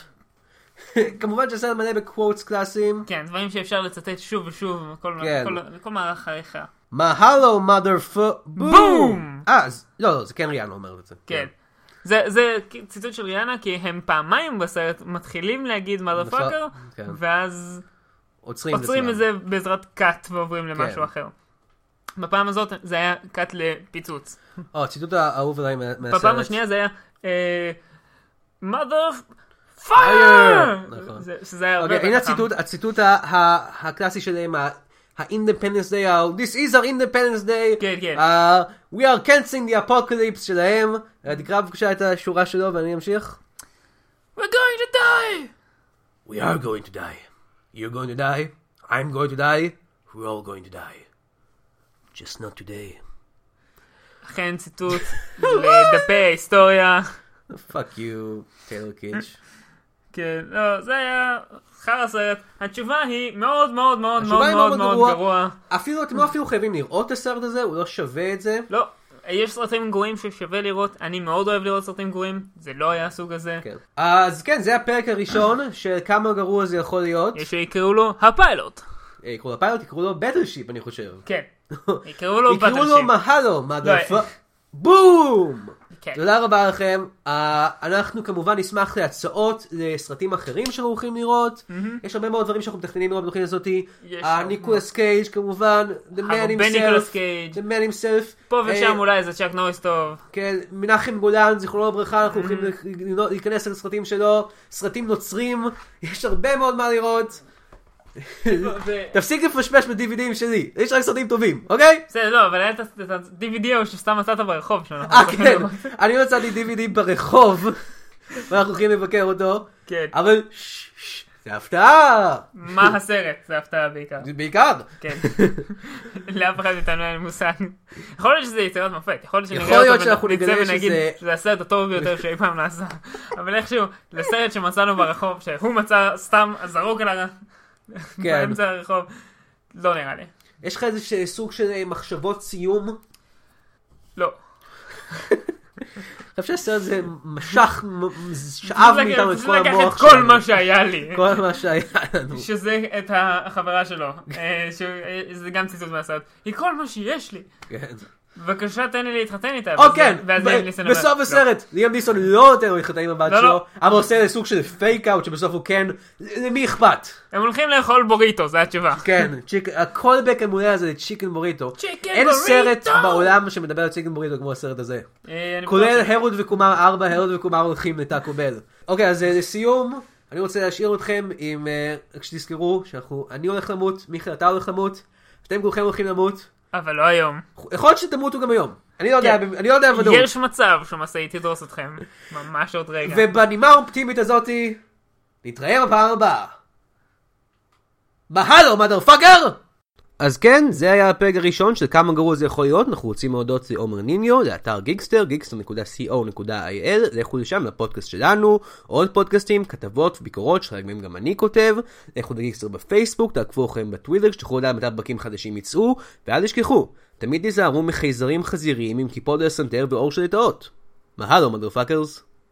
Speaker 1: כמובן שהסרט מלא בקוואטס קלאסיים.
Speaker 2: כן, דברים שאפשר לצטט שוב ושוב בכל-
Speaker 1: כן.
Speaker 2: בכל- בכל מערך חייך.
Speaker 1: מהלו מאדר פו... בום!
Speaker 2: בום!
Speaker 1: אה, אז- לא, לא, זה כן ריאן אומרת את זה.
Speaker 2: כן. זה, זה ציטוט של ריאנה, כי הם פעמיים בסרט מתחילים להגיד mother fucker,
Speaker 1: כן.
Speaker 2: ואז
Speaker 1: עוצרים את זה.
Speaker 2: עוצרים את זה בעזרת קאט ועוברים
Speaker 1: כן.
Speaker 2: למשהו אחר. בפעם הזאת זה היה קאט לפיצוץ.
Speaker 1: או, אה, הציטוט האהוב עליי מה- מהסרט.
Speaker 2: בפעם השנייה זה היה אה, mother
Speaker 1: Fire!
Speaker 2: fire!
Speaker 1: נכון.
Speaker 2: זה- שזה היה הרבה
Speaker 1: אוקיי,
Speaker 2: יותר
Speaker 1: הנה
Speaker 2: חכם.
Speaker 1: הציטוט, הציטוט ה- ה- הקלאסי שלהם, ה-Independence Day, ה- This is our Independence Day.
Speaker 2: כן, כן.
Speaker 1: ה- We are canceling the apocalypse שלהם. אה, תקרא בבקשה את השורה שלו ואני אמשיך.
Speaker 2: We're going to die!
Speaker 1: We are going to die. You're going to die. I'm going to die. We're all going to die. Just not today.
Speaker 2: אכן ציטוט לדפי ההיסטוריה.
Speaker 1: Fuck you, טיילור קיץ'.
Speaker 2: כן, לא, זה היה חרא סרט. התשובה היא מאוד מאוד מאוד
Speaker 1: התשובה
Speaker 2: מאוד
Speaker 1: היא
Speaker 2: מאוד
Speaker 1: מאוד
Speaker 2: מאוד
Speaker 1: גרועה.
Speaker 2: גרוע.
Speaker 1: אפילו, אתם לא
Speaker 2: Hmm.
Speaker 1: אפילו חייבים לראות את הסרט הזה, הוא לא שווה את זה.
Speaker 2: לא, יש סרטים גרועים ששווה לראות, אני מאוד אוהב לראות סרטים גרועים, זה לא היה הסוג הזה.
Speaker 1: כן. אז כן, זה הפרק הראשון של כמה גרוע זה יכול להיות.
Speaker 2: אה. יש שיקראו לו הפיילוט.
Speaker 1: אה, יקראו לו פיילוט, יקראו לו בטלשיפ, אני חושב.
Speaker 2: כן. יקראו לו
Speaker 1: יקראו לו
Speaker 2: בטלשיפ.
Speaker 1: מהלו, מגרפה.
Speaker 2: לא,
Speaker 1: בום!
Speaker 2: כן.
Speaker 1: תודה רבה לכם. אה, אנחנו כמובן נשמח להצעות לסרטים אחרים שאנחנו הולכים לראות. יש הרבה מאוד דברים שאנחנו מתכננים לראות בתוכנית הזאתי.
Speaker 2: יש
Speaker 1: אה,
Speaker 2: הרבה. אה,
Speaker 1: ניקולס קייג' כמובן, The Man
Speaker 2: הרבה ניקולס
Speaker 1: himself.
Speaker 2: קייג'.
Speaker 1: The Man himself.
Speaker 2: פה ושם
Speaker 1: אה,
Speaker 2: אולי איזה צ'אק נוריס טוב.
Speaker 1: כן, מנחם גולן, זיכרונו לברכה, אנחנו
Speaker 2: Mm-hmm.
Speaker 1: הולכים ל- להיכנס לסרטים שלו, סרטים נוצרים, יש הרבה מאוד מה לראות.
Speaker 2: ו-
Speaker 1: תפסיק לפשפש בדיווידים שלי, יש רק סרטים טובים, אוקיי?
Speaker 2: בסדר, לא, אבל היה את ה- את ה-DVD ההוא שסתם מצאת ברחוב שלנו.
Speaker 1: אה, כן, אני מצאתי DVD ברחוב, ואנחנו הולכים לבקר אותו,
Speaker 2: כן.
Speaker 1: אבל ש- ש- זה הפתעה,
Speaker 2: מה הסרט? זה הפתעה בעיקר.
Speaker 1: זה בעיקר.
Speaker 2: כן. לאף אחד מאיתנו אין מושג. יכול להיות שזה יצירת מופת, יכול להיות
Speaker 1: יכול
Speaker 2: שנראה
Speaker 1: להיות
Speaker 2: אותו
Speaker 1: שאנחנו
Speaker 2: ונצא
Speaker 1: נגלה
Speaker 2: ונגיד
Speaker 1: שזה-
Speaker 2: שזה הסרט הטוב ביותר שאי פעם נעשה. אבל איכשהו, זה סרט שמצאנו ברחוב, שהוא מצא סתם זרוק על ה...
Speaker 1: כן.
Speaker 2: באמצע הרחוב. לא נראה לי.
Speaker 1: יש לך איזה ש- סוג של אה, מחשבות סיום?
Speaker 2: לא.
Speaker 1: אני חושב שהסרט הזה משך, מ- שאב
Speaker 2: צריך
Speaker 1: מאיתנו את
Speaker 2: לקחת-
Speaker 1: כל
Speaker 2: צריך לקחת
Speaker 1: המוח
Speaker 2: את כל מה שהיה לי.
Speaker 1: כל מה שהיה לנו.
Speaker 2: שזה את החברה שלו. אה, שהוא- אה, זה גם ציטוט מהסרט. היא כל מה שיש לי.
Speaker 1: כן.
Speaker 2: בבקשה תן לי להתחתן איתה.
Speaker 1: או
Speaker 2: ואז-
Speaker 1: כן,
Speaker 2: ואז
Speaker 1: ב-
Speaker 2: ליאם ניסן אומר,
Speaker 1: בסוף
Speaker 2: "לא."
Speaker 1: הסרט, ליאם ניסון לא נותן לו להתחתן עם הבת
Speaker 2: לא,
Speaker 1: שלו,
Speaker 2: לא.
Speaker 1: אבל עושה איזה סוג של פייק אאוט שבסוף הוא כן, למי אכפת?
Speaker 2: הם הולכים לאכול בוריטו, זו התשובה.
Speaker 1: כן, צ'יק- הקולבק המעולה הזה לצ'יקן בוריטו.
Speaker 2: צ'יקן
Speaker 1: אין
Speaker 2: בוריטו!
Speaker 1: סרט בעולם שמדבר על צ'יקן בוריטו כמו הסרט הזה.
Speaker 2: אה, אני
Speaker 1: כולל
Speaker 2: בטוח-
Speaker 1: הרוד וקומר 4, הרוד וקומר הולכים לטאקו בל. אוקיי, אז אה, לסיום, אני רוצה להשאיר אתכם עם, אה, רק שתזכרו, שאנחנו, אני הולך למות, מיכאל אתה הולך למות, אתם כולכם הולכים למות,
Speaker 2: אבל לא היום.
Speaker 1: יכול להיות שתמותו גם היום. אני לא יודע,
Speaker 2: כן.
Speaker 1: אני לא יודע בוודאות.
Speaker 2: יש מצב שמשאית תדרוס אתכם. ממש עוד רגע.
Speaker 1: ובנימה האופטימית הזאתי, נתראה בפעם הבאה. בהלו, מאדר פאגר! אז כן, זה היה הפרק הראשון של כמה גרוע זה יכול להיות, אנחנו רוצים להודות לעומר ניניו, לאתר גיקסטר, gigster.co.il, לכו לשם לפודקאסט שלנו, עוד פודקאסטים, כתבות וביקורות, שחלקם גם אני כותב, לכו לגיקסטר בפייסבוק, תעקבו אחריהם בטוויטר, שתוכלו לדעת מתי פרקים חדשים יצאו, ואל תשכחו, תמיד תיזהרו מחייזרים חזיריים עם כיפות לסנטר ואור של לטאות. מהלו, מאדר פאקרס.